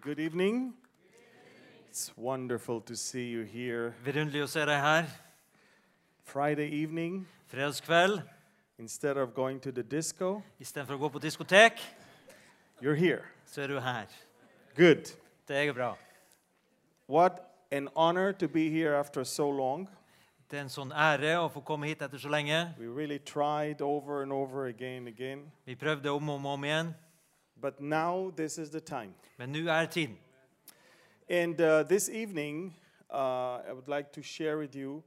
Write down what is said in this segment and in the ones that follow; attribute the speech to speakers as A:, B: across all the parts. A: Good evening. It's wonderful to see you here.
B: Vidunderlig å se deg her.
A: Friday evening,
B: Fredagskveld.
A: instead of going to the disco,
B: Istedenfor å gå på diskotek,
A: you're here.
B: så er du her.
A: Good.
B: Det er bra.
A: What an honor to be here after so long.
B: Det er en sånn ære å få komme hit etter så lenge.
A: We really tried over and over again and again,
B: Vi prøvde om og om, og om igjen,
A: but now this is the time.
B: men nå er tiden.
A: And uh, this evening, uh, I would like to share with you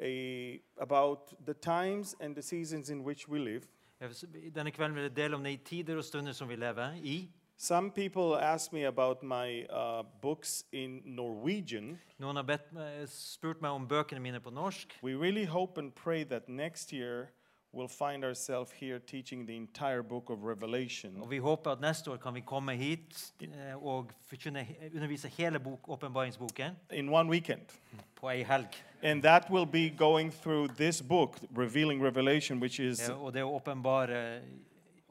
A: a, about the times and the seasons in which we live.
B: Jeg vil s- Denne kvelden vil jeg dele om de tider og stunder som vi lever i.
A: Some people ask me about my uh, books in Norwegian.
B: Noen har bedt, meg- spurt meg om bøkene mine på norsk.
A: We really hope and pray that next year we'll find ourselves here teaching the entire book of Revelation.
B: Og vi håper at neste år kan vi komme hit eh, og forkynne, undervise hele bok, åpenbaringsboken
A: in one weekend.
B: på ei helg.
A: And that will be going through this book, Revealing Revelation, which is.
B: Eh, Og det er åpenbare,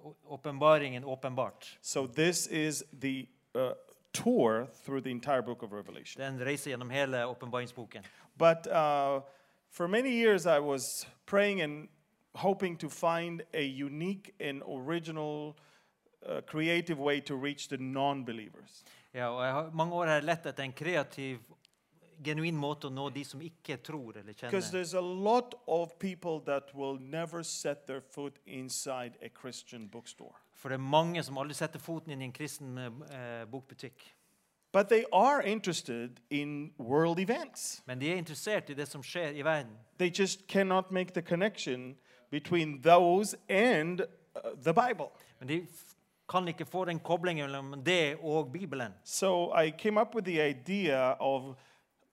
B: å- åpenbaringen åpenbart.
A: So, this is the uh, tour through the entire book of Revelation.
B: Det er en reise gjennom hele åpenbaringsboken.
A: But uh, for many years, I was praying and hoping to find a unique and original, uh, creative way to reach the non believers.
B: Ja, og jeg har, mange år har jeg lett etter en kreativ, genuin måte å nå de som ikke tror eller
A: Because
B: kjenner.
A: there's a lot of people that will never set their foot inside a Christian bookstore.
B: For det er mange som aldri setter foten inn i en kristen eh, bokbutikk.
A: But they are interested in world events.
B: Men de er interessert i det som skjer i verden.
A: They just cannot make the connection between those and uh, the Bible.
B: Men de f kan ikke få den koblingen mellom det og Bibelen.
A: So I came up with the idea of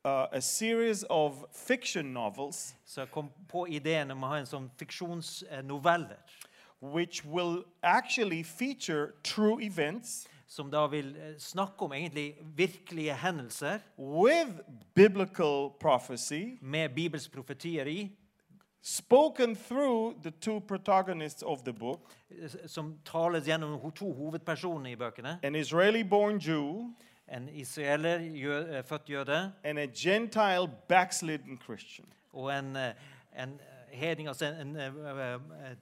A: uh, a series of fiction novels
B: Så jeg kom på ideen om å ha en sånn fiksjonsnoveller.
A: which will actually feature true events
B: Som da vil eh, snakke om egentlig virkelige hendelser
A: with biblical prophecy
B: med Bibels profetier i.
A: spoken through the two protagonists of the book
B: s- som tales gjennom ho- to hovedpersoner i bøkene.
A: an Israeli born Jew
B: En israeler, jø, eh, født jøde,
A: and a Gentile backslidden Christian.
B: og en, eh, en eh, hedning, altså en, en eh, eh, eh,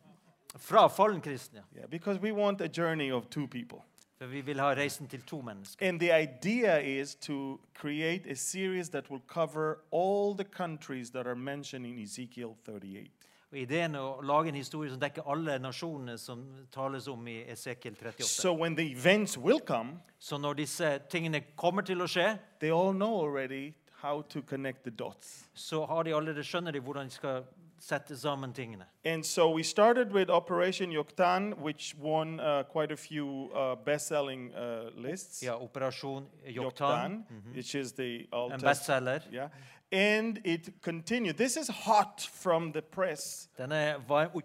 B: frafallen kristen. ja.
A: Yeah, because we want a journey of two people.
B: For vi vil ha reisen til to mennesker.
A: And the idea is to create a series that will cover all the countries that are mentioned in Ezekiel 38.
B: Og ideen er å lage en historie som dekker alle nasjonene som tales om i Esekiel 38.
A: So when the events will come,
B: Så når disse tingene kommer til å skje,
A: they all know already how to connect the dots.
B: så har de allerede skjønner de hvordan de skal sette sammen tingene.
A: And so we started with Operation Yoktan, which won uh, quite a few uh, best-selling uh, lists.
B: Ja, Operasjon Joktan,
A: Yoktan, which is the Old
B: en
A: Test-
B: bestselger.
A: Yeah, and it continued. This is hot from the press.
B: Den er var- Oi.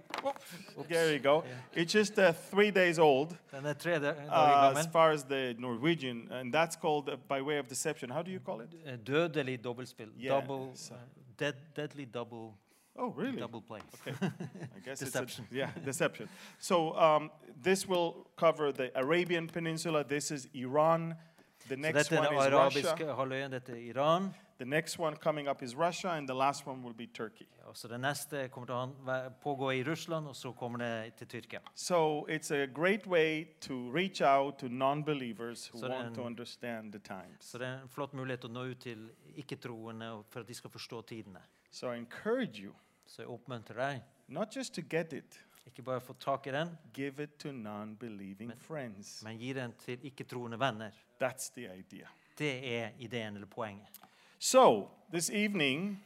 A: There you go. It's just uh, three days old.
B: Den er tre da- dager
A: Uh, as
B: gammel.
A: far as the Norwegian, and that's called uh, by way of deception. How do you call it?
B: Eh, Dødelig dobbeltspill.
A: Yeah,
B: double,
A: so-
B: eh, dead, deadly double,
A: Oh, really?
B: double play.
A: I guess
B: Deception.
A: It's a, yeah, deception. So um, this will cover the Arabian Peninsula. This is Iran. The
B: Så
A: next
B: dette er
A: one
B: den
A: is Russia.
B: arabiske halvøyen, dette er Iran.
A: The next one coming up is Russia, and the last one will be Turkey.
B: Og så det neste kommer til å han- væ- pågå i Russland, og så kommer det til Tyrkia.
A: So it's a great way to reach out to non-believers who
B: So
A: want to
B: then-
A: understand the times.
B: Så det er en flott mulighet å nå ut til ikke-troende og for at de skal forstå tidene.
A: So I encourage you
B: Så jeg oppmuntrer deg.
A: not just to get it,
B: Ikke bare få tak i den,
A: give it to non-believing friends.
B: men gi den til ikke-troende venner.
A: That's the idea.
B: Det er ideen eller poenget.
A: So this evening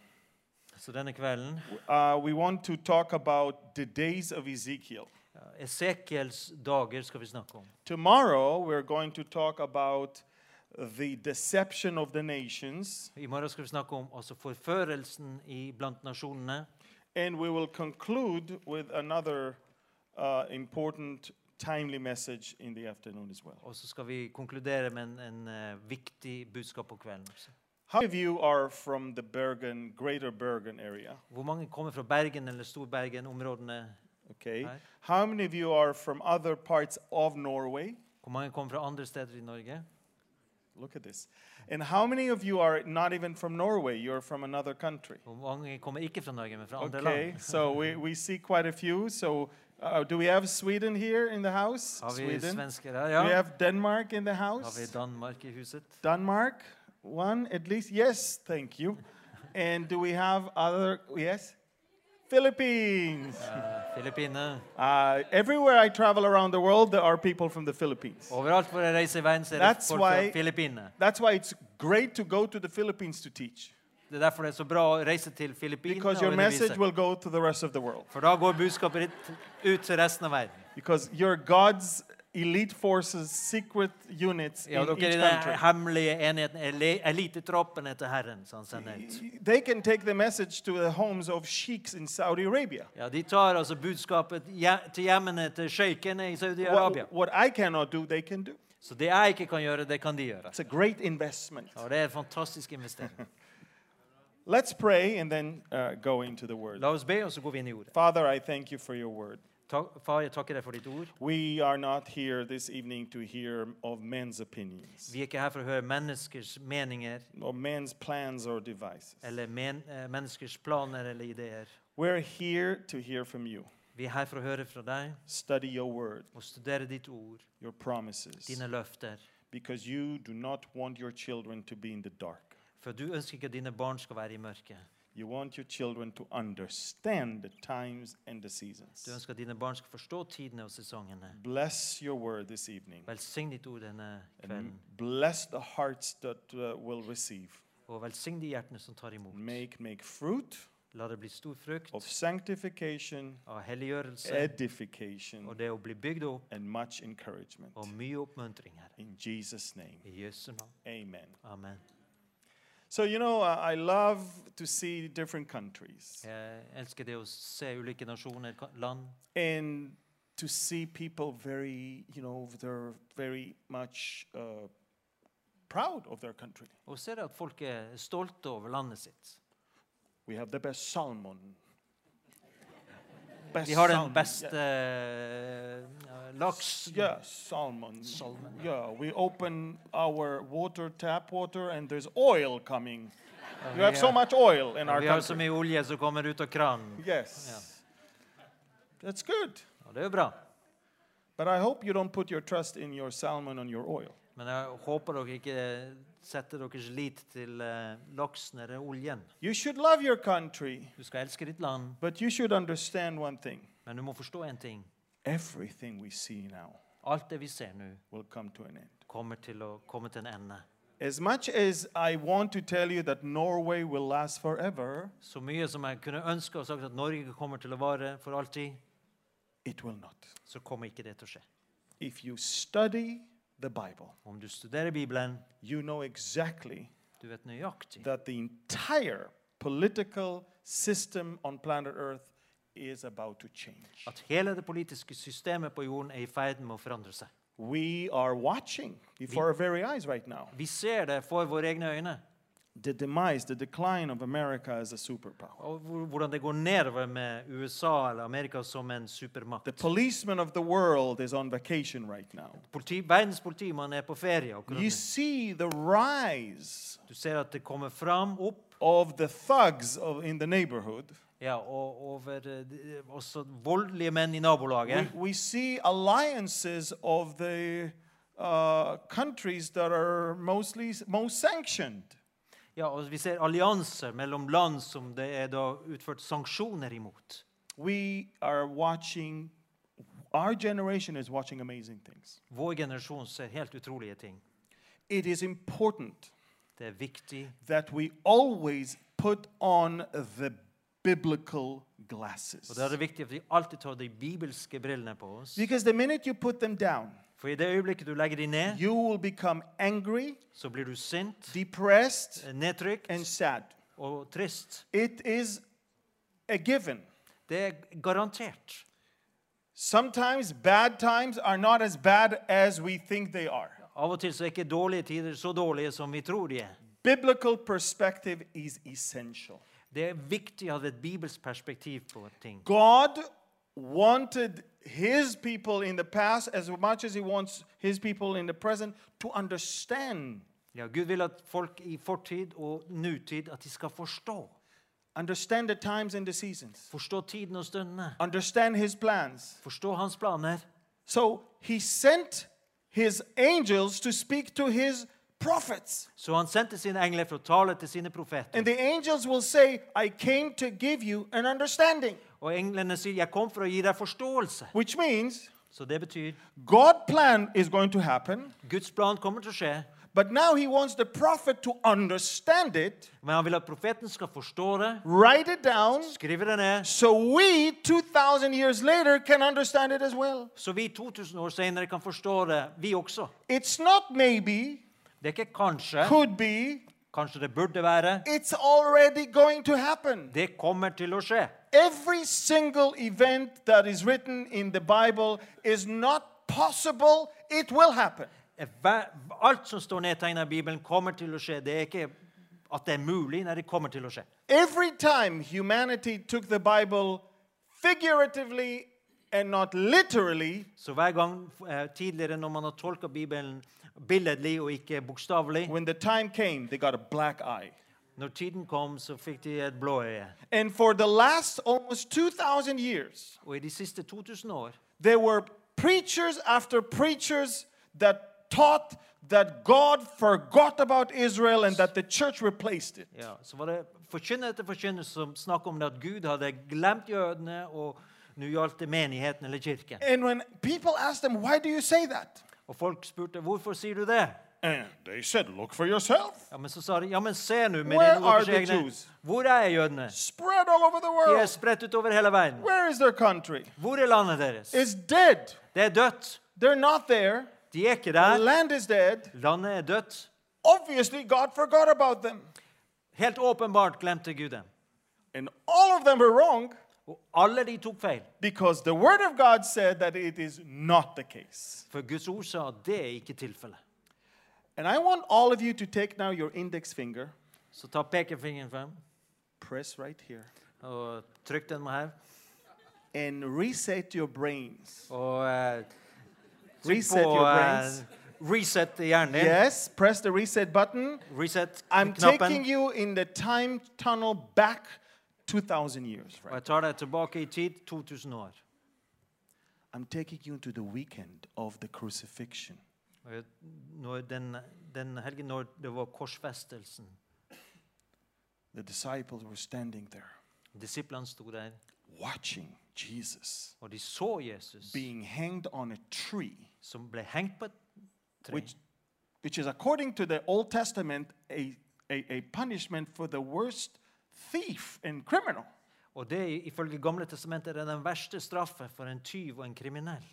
B: Så denne kvelden
A: uh, we want to talk about the days of Ezekiel.
B: ja, Esekiels dager skal vi snakke om.
A: Tomorrow, we're going to talk about the deception of the nations,
B: I morgen skal vi snakke om altså forførelsen i blant nasjonene.
A: and we will conclude with another uh, important, timely message in the afternoon as well.
B: Og så skal vi konkludere med en, en eh, viktig budskap på kvelden. Også.
A: How many of you are from the Bergen, greater Bergen area?
B: Hvor mange kommer fra Bergen eller Storbergen-områdene?
A: Okay.
B: Right.
A: How many of you are from other parts of Norway?
B: Hvor mange kommer fra andre steder i Norge?
A: Look at this. And how many of you are not even from Norway? You're from another country.
B: Og mange kommer ikke fra Norge, men fra andre
A: Okay,
B: land.
A: so we, we see quite a few. So, uh, do we have Sweden here in the house?
B: Har vi
A: Sweden.
B: svensker her?
A: We
B: Ja.
A: have Denmark in the
B: Har vi
A: house.
B: Danmark i huset?
A: Denmark, one at least. Yes, thank you. and do we have other? Yes, Philippines.
B: Eh, Filippinene.
A: Uh, everywhere I travel around the world, there are people from the Philippines.
B: Overalt hvor jeg reiser i verden, ser jeg
A: That's
B: folk fra
A: why-
B: Filippinene.
A: That's why it's great to go to the Philippines to teach,
B: Det er derfor det er så bra å reise til Filippinene og
A: because your message
B: undervise.
A: will go to the rest of the world.
B: For da går budskapet ditt ut til resten av verden.
A: Because you're God's elite forces, secret units
B: Ja,
A: in
B: dere er
A: each
B: i den
A: country.
B: hemmelige enheten, ele- elitetroppene til Herren, som han sender ut.
A: They can take the message to the homes of sheiks in Saudi Arabia.
B: Ja, De tar altså budskapet hje- til hjemmene til sjeikene i Saudi-Arabia.
A: What, what I cannot do, they can do.
B: Så det jeg ikke kan gjøre, det kan de gjøre.
A: It's a great investment.
B: Og det er en fantastisk investering.
A: Let's pray and then uh, go into the word.
B: La oss be, og så går vi inn i ordet.
A: Father, I thank you for your word.
B: Ta- Far, jeg takker deg for ditt ord.
A: We are not here this evening to hear of men's opinions,
B: Vi er ikke her for å høre menneskers meninger
A: or men's plans or devices.
B: eller men, eh, menneskers planer eller ideer.
A: We're here to hear from you,
B: Vi er her for å høre fra deg
A: study your word,
B: og studere ditt ord,
A: your promises,
B: dine løfter.
A: because you do not want your children to be in the dark.
B: For du ønsker ikke at dine barn skal være i mørket.
A: You want your children to understand the times and the
B: Du
A: seasons.
B: ønsker at dine barn skal forstå tidene og sesongene.
A: Bless your word this evening
B: Velsign ditt ord denne
A: and
B: kvelden,
A: bless the hearts that uh, will receive.
B: og velsign de hjertene som tar imot.
A: Make make fruit
B: La det bli stor frukt
A: of sanctification,
B: av helliggjørelse
A: edification,
B: og det å bli bygd opp
A: and much encouragement.
B: og mye oppmuntring, Herre.
A: In Jesus' name,
B: I Jesu navn.
A: amen.
B: Amen.
A: So, you know, uh, I love to see different countries
B: Jeg elsker det å se ulike nasjoner, ka- land,
A: and to see people very, you know, they're very much uh, proud of their country.
B: og ser at folk er stolte over landet sitt.
A: We have the best salmon. Best
B: Vi har den
A: salmon,
B: beste
A: yeah.
B: eh, laks.
A: Yeah, salmon.
B: Salmon.
A: Yeah, we open our water, tap water, and there's oil coming. You have so
B: Oh, yeah.
A: much oil in our
B: Vi har så
A: country.
B: mye olje som kommer ut av kranen.
A: Yes. That's good.
B: Og det er jo bra.
A: But I hope you don't put your trust in your salmon and your oil.
B: Men jeg håper dere ikke setter deres lit til eh, laksen eller oljen.
A: You should love your country,
B: Du skal elske ditt land,
A: but you should understand one thing.
B: men du må forstå en ting.
A: Everything we see now
B: Alt det vi ser nå,
A: will come to an end.
B: kommer til å komme til en ende.
A: As much as I want to tell you that Norway will last forever,
B: Så mye som jeg kunne ønske og sagt at Norge kommer til å vare for alltid,
A: it will not.
B: så kommer ikke det til å skje.
A: If you study the Bible,
B: Om du studerer Bibelen,
A: you know exactly
B: du vet nøyaktig
A: that the entire political system on planet Earth is about to change.
B: at hele det politiske systemet på jorden er i ferd med å forandre seg.
A: We are watching before our very eyes right now
B: Vi ser det for våre egne øyne,
A: the demise, the decline of America as a superpower.
B: og hvor- hvordan det går nedover med USA eller Amerika som en supermakt.
A: The policeman of the world is on vacation right now.
B: Politi, verdens politimann er på ferie. akkurat
A: You
B: nå.
A: see the rise
B: Du ser at det kommer fram opp,
A: of the thugs of, in the neighborhood.
B: ja, og over eh, de- også voldelige menn i
A: We,
B: nabolaget.
A: we see alliances of the uh, countries that are mostly most sanctioned.
B: Ja, og vi ser allianser mellom land som det er da utført sanksjoner imot.
A: We are watching, our generation is watching amazing things.
B: Vår generasjon ser helt utrolige ting.
A: It is important
B: Det er viktig
A: that we always put on the biblical glasses.
B: Og da er det viktig at vi alltid tar de bibelske brillene på oss.
A: Because the minute you put them down,
B: For i det øyeblikket du legger de ned,
A: you will become angry,
B: så blir du sint,
A: depressed,
B: Uh, nedtrykt
A: and sad.
B: og trist.
A: It is a given.
B: Det er garantert.
A: Sometimes bad times are not as bad as we think they are.
B: Av og til så er ikke dårlige tider så dårlige som vi tror de er.
A: Biblical perspective is essential.
B: Det er viktig å ha et bibelsk perspektiv på ting.
A: God wanted his people in the past as much as he wants his people in the present to understand
B: Ja, Gud vil at folk i fortid og nutid at de skal forstå.
A: Understand the times and the seasons.
B: Forstå tiden og stundene.
A: Understand his plans.
B: Forstå hans planer.
A: So he sent his angels to speak to his prophets.
B: Så han sendte sine engler for å tale til sine profeter.
A: And the angels will say, I came to give you an understanding,
B: Og englene sier, 'Jeg kom for å gi deg forståelse'.
A: which means
B: Så det betyr
A: God plan is going to happen,
B: Guds plan kommer til å skje,
A: but now he wants the prophet to understand it,
B: men han vil at profeten skal forstå det,
A: write it down,
B: skrive det ned,
A: so we 2000 years later can understand it as well.
B: så vi 2000 år senere kan forstå det, vi også.
A: It's not maybe,
B: Det er ikke kanskje.
A: could be,
B: Kanskje det burde være.
A: it's already going to happen.
B: Det kommer til å skje.
A: Every single event that is written in the Bible is not possible, it will happen.
B: Hver- Alt som står nedtegna i Bibelen, kommer til å skje. Det er ikke at det er mulig. Nei, det kommer til å skje.
A: Every time humanity took the Bible figuratively and not literally,
B: Så hver gang eh, tidligere når man har tolka Bibelen billedlig og ikke bokstavelig
A: when the time came, they got a black eye.
B: Når tiden kom, så fikk de et blåøye.
A: And for the last almost 2,000 years,
B: Og i de siste 2000 år
A: there were preachers after preachers that taught that God forgot about Israel and that the church replaced it.
B: ja, så var det forkynner etter forkynner som snakket om det at Gud hadde glemt jødene, og nå gjaldt det menigheten eller kirken.
A: And when people asked them, Why do you say that?
B: Og folk spurte hvorfor sier du det.
A: And they said, Look for yourself.
B: Ja, Men så sa de ja, men se nå med
A: Where
B: dine deres
A: are the
B: egne
A: Jews?
B: Hvor er jødene?
A: Spread all over the
B: De er
A: world.
B: spredt utover hele verden.
A: Where is their country?
B: Hvor er landet deres?
A: It's dead.
B: Det er dødt.
A: They're not there.
B: De er ikke
A: The
B: der.
A: land is dead.
B: Landet er dødt.
A: Obviously, God forgot about them.
B: Helt åpenbart glemte Gud dem.
A: And all of them were wrong
B: Og alle de tok feil.
A: because the Word of God said that it is not the case.
B: For Guds ord sa at det er ikke tilfellet.
A: And I want all of you to take now your index finger,
B: Så ta pekefingeren frem
A: press right here,
B: og trykk den her.
A: and reset your brains.
B: Og eh, trykk
A: Reset
B: på,
A: your
B: eh,
A: brains.
B: reset hjernen din.
A: Yes, press the reset button.
B: Reset
A: I'm taking
B: knappen.
A: you in the time tunnel back 2,000 years.
B: Og
A: Right?
B: jeg tar deg tilbake i tid 2000 år.
A: I'm taking you into the weekend of the crucifixion.
B: Og jeg- Når den, den helgen når det var korsfestelsen.
A: The disciples were standing there
B: Disiplene sto der,
A: watching Jesus
B: og de så Jesus
A: being hanged on a tree,
B: som ble hengt på et tre.
A: which, which is, according to the Old Testament, a, a, a punishment for the worst thief and criminal.
B: Og det er ifølge Gamle testamentet er det den verste straffe for en tyv og en kriminell.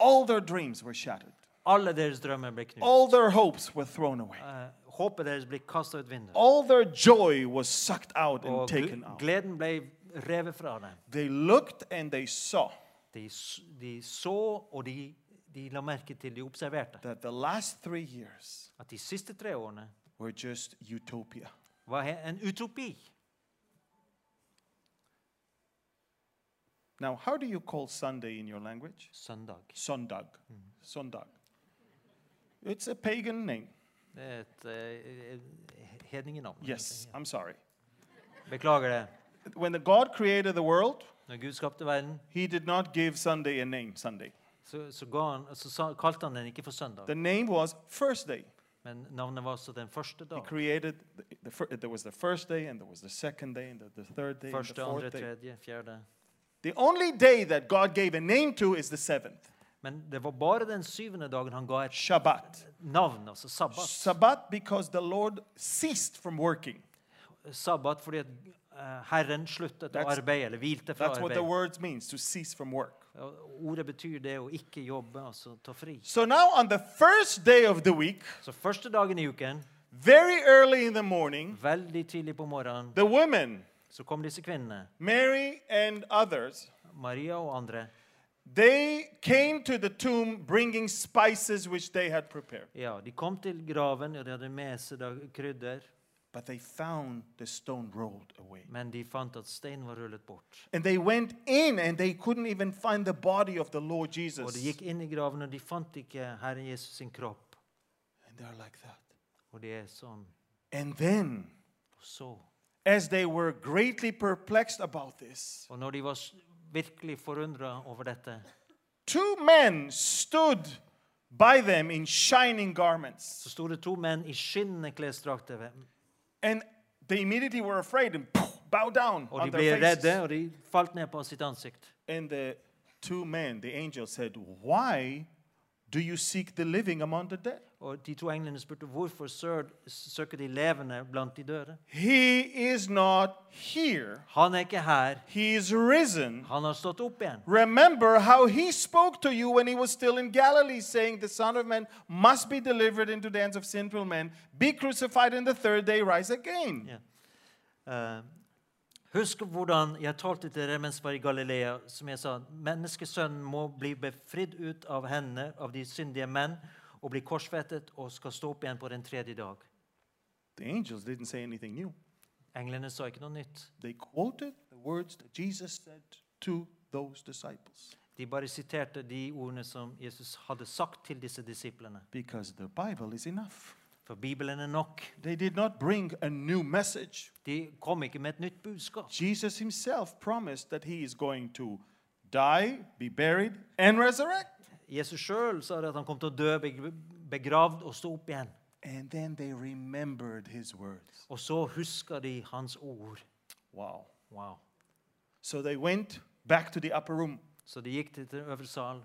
A: All their dreams were shattered,
B: Alle deres drømmer ble knust.
A: all their hopes were thrown away,
B: Eh, håpet deres ble kasta ut vinduet.
A: all their joy was sucked out and
B: Og Oh, gl-
A: taken out.
B: gleden ble revet fra dem.
A: They looked and they saw
B: De, s- de så, og de, de la merke til, de observerte,
A: that the last three years
B: at de siste tre årene
A: were just utopia.
B: var he- en utopi.
A: Now, how do you call Sunday in your language?
B: Søndag.
A: Sondag. Sondag. Mm-hmm. It's a pagan name.
B: Det er et eh, he- hedningenavn.
A: Yes, I'm sorry.
B: Beklager det.
A: When the God created the world,
B: Når Gud skapte verden,
A: he did not give Sunday a name, Sunday.
B: så, så, ga han, så sa, kalte han den ikke for søndag,
A: The name was first day.
B: men navnet var så den første
A: He
B: dag.
A: created, the, the, fir- there was the first day, and there was the second day, and the, the third day, and
B: Første,
A: the
B: andre,
A: fourth day.
B: tredje, fjerde.
A: The only day that God gave a name to is the seventh,
B: Men det var bare den syvende dagen han ga et
A: Shabbat.
B: navn, altså sabbat.
A: Sabbat because the Lord ceased from working.
B: Sabbat fordi at eh, Herren sluttet å
A: That's-
B: arbeide, eller hvilte fra
A: That's what the
B: arbeid.
A: word means, to cease from work.
B: Og Ordet betyr det å ikke jobbe, altså ta fri.
A: So now on the first day of the week,
B: Så første dagen i uken,
A: very early in the morning,
B: veldig tidlig på morgenen,
A: the women,
B: så kom disse kvinnene,
A: Mary and others,
B: Maria og andre,
A: they came to the tomb bringing spices which they had prepared.
B: ja, de kom til graven, og de hadde med seg da krydder,
A: But they found the stone rolled away.
B: men de fant at steinen var rullet bort.
A: And they went in and they couldn't even find the body of the Lord Jesus.
B: Og de gikk inn i graven, og de fant ikke Herren Jesus sin kropp.
A: And they're like that.
B: Og det er sånn.
A: And then,
B: Og så.
A: as they were greatly perplexed about this,
B: Og når de var s- virkelig forundra over dette,
A: two men stood by them in shining garments.
B: så sto det to menn i skinnende klesdrakter. ved-
A: And they immediately were afraid and bowed down
B: Og
A: on
B: de ble
A: their faces.
B: redde, og de falt ned på sitt ansikt.
A: And the two men, the angel said, Why do you seek the living among the dead?
B: Og de to englene spurte hvorfor sør, søker de levende blant de døde.
A: He is not here.
B: Han er ikke her.
A: He is risen.
B: Han har stått opp igjen.
A: Remember how he spoke to you when he was still in Galilee, saying, The Son of Man must be delivered into the hands of sinful men, be crucified, and the third day rise again.
B: Ja. Eh, husk hvordan jeg talte til dere mens jeg var i Galilea, som jeg sa, menneskesønnen må bli befridd ut av hendene av de syndige menn og bli korsfettet og skal stå opp igjen på den tredje dag.
A: The angels didn't say anything new.
B: Englene sa ikke noe nytt.
A: They quoted the words that Jesus said to those disciples
B: De bare siterte de ordene som Jesus hadde sagt til disse disiplene.
A: because the Bible is enough.
B: For Bibelen er nok.
A: They did not bring a new message.
B: De kom ikke med et nytt budskap.
A: Jesus himself promised that he is going to die, be buried, and resurrect.
B: Jesus sjøl sa det at han kom til å dø, beg- begravd og stå opp igjen.
A: And then they remembered his words.
B: Og så huska de hans ord.
A: Wow.
B: Wow.
A: So they went back to the upper room.
B: Så de gikk til den øvre sal.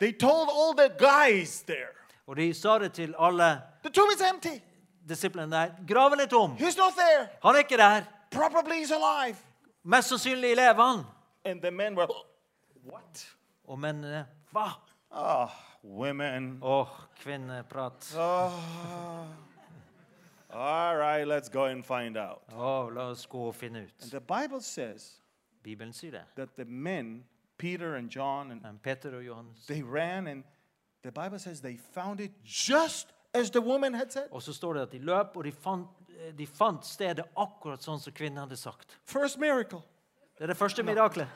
A: They told all the guys there
B: Og de sa det til alle
A: the tomb is empty.
B: disiplene der. Graven er tom!
A: He's not there.
B: Han er ikke der!
A: Probably he's alive.
B: Mest sannsynlig lever han!
A: And the men were, What?
B: Og mennene Hva?
A: Ah, women.
B: Åh, kvinneprat. Åh,
A: Ah. all right, let's go and find out.
B: la oss gå og finne ut.
A: And the Bible says
B: Bibelen sier det.
A: that the men, Peter and John, and
B: Men Peter og Johannes.
A: they ran, and the Bible says they found it just as the woman had said.
B: Og så står det at de løp, og de fant, eh, de fant stedet akkurat sånn som kvinnen hadde sagt.
A: First miracle.
B: Det er det første miraklet.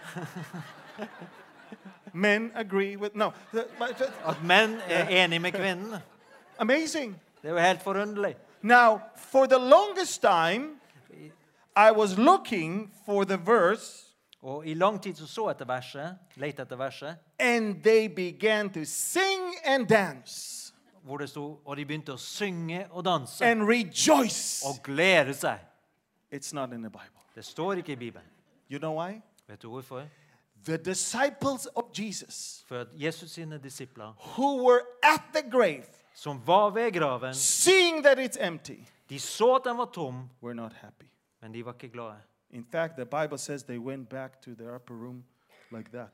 A: Men agree with no. the- but- but-
B: At menn er enig med kvinnen.
A: amazing.
B: Det er jo helt forunderlig.
A: Now, for the longest time, I was looking for the verse,
B: Og i lang tid så så etter verset, lette etter verset,
A: and they began to sing and dance
B: hvor det sto Og de begynte å synge og danse
A: and rejoice.
B: og glede seg.
A: It's not in the Bible.
B: Det står ikke i Bibelen.
A: You know why?
B: Vet du hvorfor?
A: The disciples of Jesus
B: For at Jesus sine disipler,
A: who were at the grave,
B: som var ved graven,
A: seeing that it's empty,
B: de så at den var tom,
A: were not happy.
B: men de var ikke glade.
A: In fact, the Bible says they went back to their upper room like that.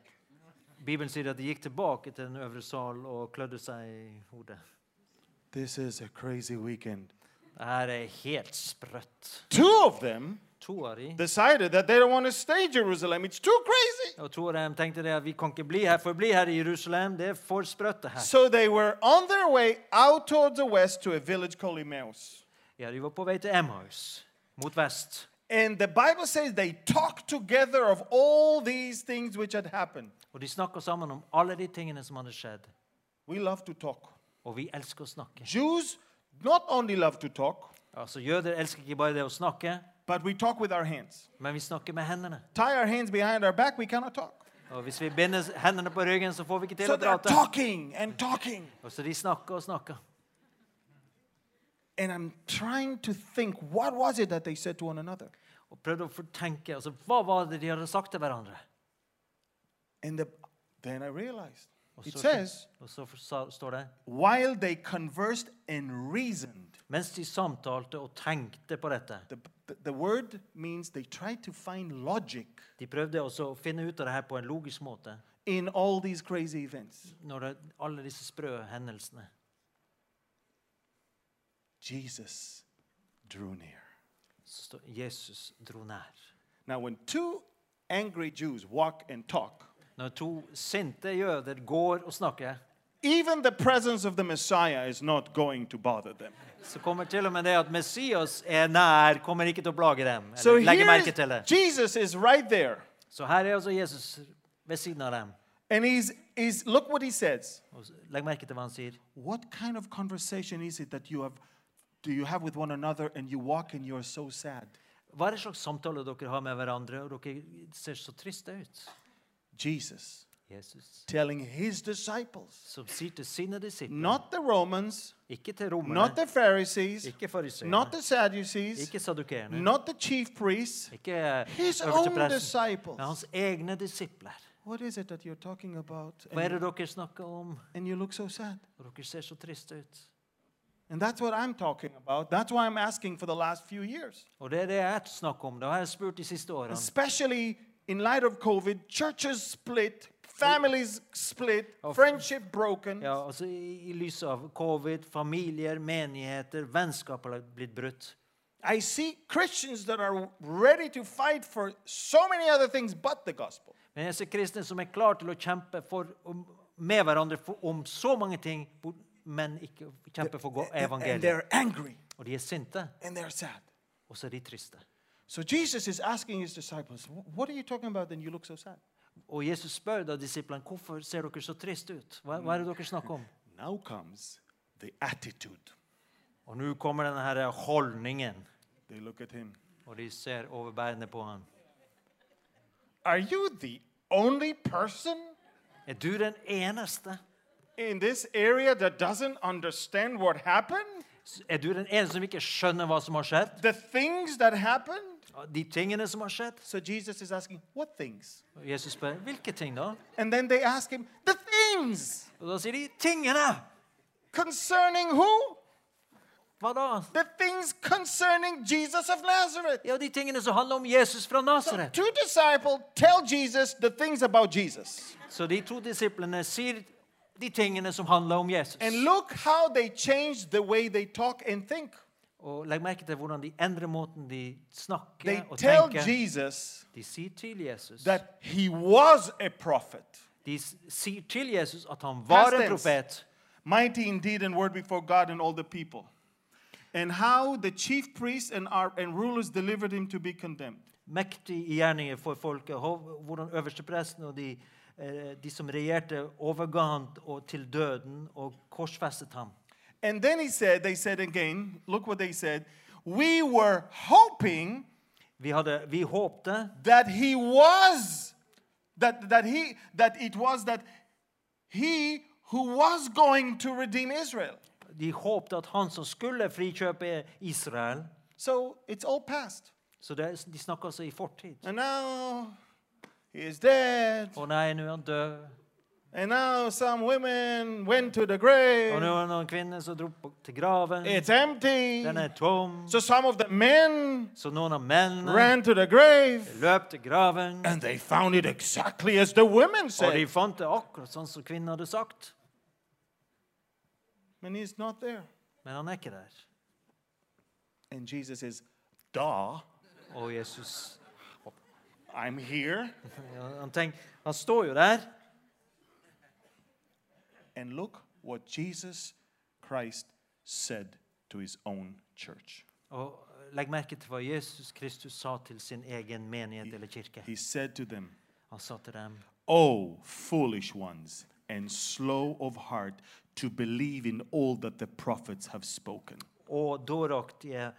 B: Bibelen sier at de gikk tilbake til den øvre sal og klødde seg i hodet.
A: This is a crazy weekend.
B: Det her er helt sprøtt.
A: Two of them
B: To av de,
A: decided that they don't want to stay Jerusalem. It's too crazy.
B: og to av dem tenkte det at vi kan ikke bli her, forbli her i Jerusalem. Det er for sprøtt, det her.
A: So they were on their way out towards the west to a village called Emmaus.
B: Ja, de var på vei til Emmaus, mot vest.
A: And the Bible says they talked together of all these things which had happened.
B: Og de snakka sammen om alle de tingene som hadde skjedd.
A: We love to talk.
B: Og vi elsker å snakke.
A: Jews not only love to talk,
B: Altså, Jøder elsker ikke bare det å snakke,
A: but we talk with our hands.
B: men vi snakker med hendene.
A: Tie our hands behind our back, we cannot talk.
B: Og hvis vi binder hendene på ryggen, så får vi ikke til
A: So
B: å
A: they're
B: prate.
A: talking and talking.
B: Og så de snakker og snakker.
A: And I'm trying to think what was it that they said to one another?
B: Og prøvde å få tenke altså, Hva var det de hadde sagt til hverandre?
A: And the, then I realized
B: Og
A: it
B: så,
A: says,
B: og så for- sa- står det
A: while they conversed and reasoned,
B: Mens de samtalte og tenkte på dette
A: the, the, the word means they tried to find logic
B: De prøvde også å finne ut av det her på en logisk måte.
A: in all these crazy events.
B: Når det, alle disse sprø hendelsene.
A: Jesus drew near.
B: Så står Jesus dro nær.
A: Now, when two angry Jews walk and talk,
B: Når to sinte jøder går og snakker,
A: even the presence of the Messiah is not going to bother them.
B: så kommer til og med det at Messias er nær, kommer ikke til å plage dem. Eller
A: So
B: legge
A: here
B: merke
A: is,
B: til det.
A: Jesus is right there.
B: Så her er altså Jesus ved siden av dem.
A: And he's, he's, look what he says.
B: Og s- legg merke til hva han sier.
A: What kind of conversation is it that you have do you have with one another and you walk and you're so sad?
B: Hva er det slags samtale dere har med hverandre, og dere ser så triste ut?
A: Jesus
B: Jesus,
A: telling his disciples,
B: som sier til sine disipler,
A: not the Romans,
B: ikke til romerne,
A: not the Pharisees,
B: ikke fariseerne,
A: not the Sadducees,
B: ikke sadukerene,
A: not the chief priests,
B: ikke
A: his
B: øverste
A: own
B: presten,
A: disciples.
B: men hans egne disipler.
A: What is it that you're talking about?
B: Hva er
A: And,
B: det dere snakker om?
A: and you look so sad.
B: Og dere ser så triste ut.
A: And that's what I'm talking about. That's why I'm asking for the last few years.
B: Og det er det jeg snakker om. Det har jeg spurt de siste årene.
A: Especially in light of COVID, churches split, families split, friendship broken.
B: Ja, altså I i lys av covid, familier, menigheter, vennskap har blitt brutt.
A: I see Christians that are ready to fight for so many other things but the gospel.
B: Men jeg ser kristne som er klare til å kjempe for, om, med hverandre for, om så mange ting, hvor- men ikke kjempe for go-
A: And
B: evangeliet.
A: they're angry
B: Og de er sinte,
A: and they're sad.
B: og så er de triste.
A: So Jesus is asking his disciples, "Wh- What are you talking about? Then you look so sad.
B: Og Jesus spør da disiplene hvorfor ser dere så triste ut. Hva, hva er det dere snakker om?
A: Now comes the attitude.
B: Og nå kommer denne her holdningen,
A: They look at him.
B: og de ser overbærende på ham.
A: Are you the only person
B: Er du den eneste?
A: in this area that doesn't understand what happened?
B: Er du den eneste som ikke skjønner hva som har skjedd?
A: The things that happened?
B: De tingene som har skjedd?
A: So Jesus is asking, What things?
B: Og Jesus spør hvilke ting da?
A: And then they ask him, The things!
B: Og da sier de tingene!
A: Concerning who?
B: Hva da?
A: the things concerning Jesus of Nazareth.
B: Ja, de tingene som handler om Jesus fra
A: So
B: Nasaret.
A: two disciples tell Jesus the things about Jesus.
B: Så de to disiplene sier de tingene som handler om Jesus.
A: And look how they change the way they talk and think.
B: Og legg merke til hvordan de endrer måten de
A: They
B: snakker og
A: tell
B: tenker.
A: Jesus
B: De sier til Jesus
A: that he was a prophet,
B: De s- sier til Jesus at han var
A: Past
B: en
A: tense.
B: profet.
A: mighty indeed and word before God and all the people. And how the chief priests and, our, and rulers delivered him to be condemned.
B: Mektig i gjerninger for folket. Hov- Hvordan øverstepresten og de, eh, de som regjerte, overga han og til døden og korsfestet ham.
A: And then he said, they said again, look what they said. We were hoping
B: Vi, hadde, vi håpte
A: that he was that that he that it was that he who was going to redeem Israel.
B: De håpte at han som skulle frikjøpe Israel
A: So it's all past.
B: Så det, er- de snakker altså i fortid.
A: And now he is dead.
B: Å nei, nå er han død.
A: And now some women went to the
B: Og
A: grave.
B: nå er det noen kvinner som dro på- til graven.
A: It's empty.
B: Den er tom.
A: So some of the men
B: Så noen av mennene
A: ran to the grave
B: løp til graven.
A: and they found it exactly as the women
B: Og de
A: said.
B: fant det akkurat sånn som kvinnen hadde sagt.
A: And he's not there.
B: Men han er ikke der.
A: And Jesus is, duh,
B: Og Jesus
A: I'm here.
B: ja, han, tenk, han står jo der.
A: And look what Jesus Christ said to his own church.
B: Og legg merke til hva Jesus Kristus sa til sin egen menighet eller kirke.
A: He said to them,
B: Han sa til dem
A: O foolish ones, and slow of heart to believe in all that the prophets have spoken.
B: og dåraktige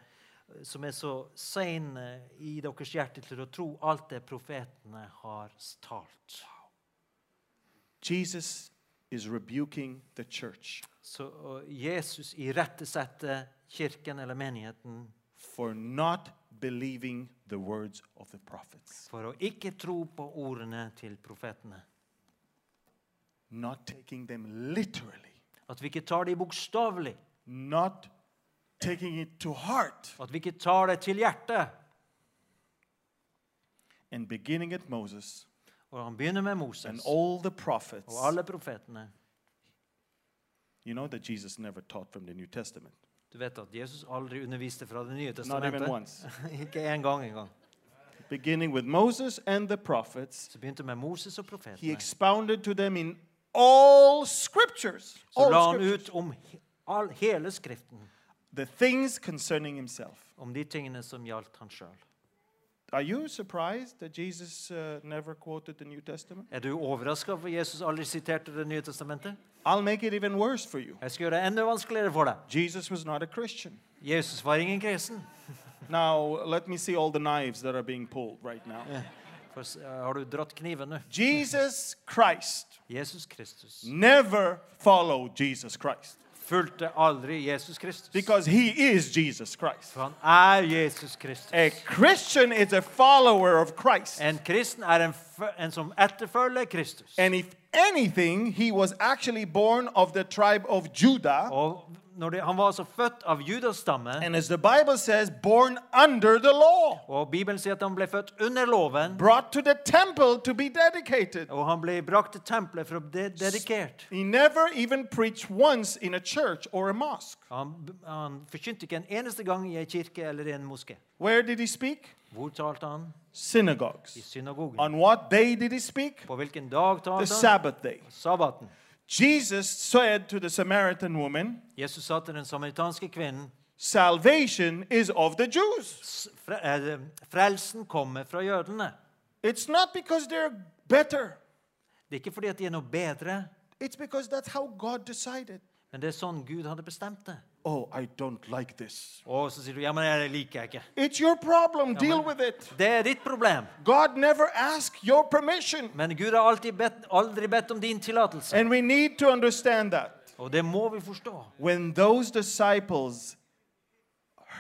B: som er så seine i deres hjerte til å tro alt det profetene har talt.
A: Jesus is rebuking the church
B: Så og Jesus irettesetter kirken eller menigheten
A: for not believing the words of the prophets,
B: for å ikke tro på ordene til profetene.
A: not taking them literally,
B: At vi ikke tar det bokstavelig.
A: not taking it to heart,
B: At vi ikke tar det til hjertet.
A: and beginning at Moses
B: Og han begynner med
A: and
B: Moses
A: all the prophets.
B: og alle profetene.
A: You know that Jesus never taught from the New Testament.
B: Du vet at Jesus aldri underviste fra Det nye
A: Not even
B: testamentet.
A: once.
B: ikke én gang engang.
A: Beginning with Moses and the prophets,
B: Så begynte med Moses og
A: he
B: profetene.
A: expounded to them in all scriptures,
B: Så la
A: all
B: han
A: scriptures
B: ut om he- all, hele Skriften,
A: the things concerning himself.
B: om de tingene som gjaldt han sjøl.
A: Are you surprised that Jesus uh, never quoted the New Testament?
B: Er du overraska over at Jesus aldri siterte Det nye testamentet?
A: I'll make it even worse for you.
B: Jeg skal gjøre det enda vanskeligere for deg.
A: Jesus was not a Christian.
B: Jesus var ingen kristen.
A: Now, let me see all the knives that are being pulled right now.
B: For, s- eh, har du dratt kniven nå?
A: Jesus Christ
B: Jesus Kristus
A: never follow Jesus Christ
B: fulgte aldri Jesus Kristus.
A: because he is Jesus Christ.
B: For han er Jesus Kristus.
A: A Christian is a follower of Christ.
B: En kristen er en, f- en som etterfølger Kristus.
A: And if anything, he was actually born of the tribe of Judah.
B: Og når de, han var altså født av Judas stamme,
A: And as the Bible says, born under the law,
B: og Bibelen sier at han ble født under loven,
A: brought to the temple to be dedicated.
B: og han ble brakt til tempelet for å bli dedikert.
A: He never even preached once in a church or a mosque.
B: Han, han forkynte ikke en eneste gang i en kirke eller i en moské.
A: Where did he speak?
B: Hvor talte han? I
A: Synagogues.
B: synagogen.
A: On what day did he speak?
B: På hvilken dag
A: The
B: talte han?
A: Sabbath day.
B: Sabbaten.
A: Jesus said to the Samaritan woman,
B: Jesus sa til den samaritanske kvinnen
A: Salvation is of the Jews.
B: "S- fre- eh, Frelsen kommer fra jødene.
A: It's not because they're better,
B: Det er ikke fordi at de er noe bedre,
A: it's because that's how God decided.
B: men det er sånn Gud hadde bestemt det.
A: Oh, I don't like this.
B: Og så sier du ja, men det liker jeg ikke.
A: It's your problem. Deal
B: man-
A: with it.
B: Det er ditt problem.
A: God never asked your permission.
B: Men Gud har alltid bedt, aldri bedt om din tillatelse.
A: And we need to understand that.
B: Og det må vi forstå.
A: When those disciples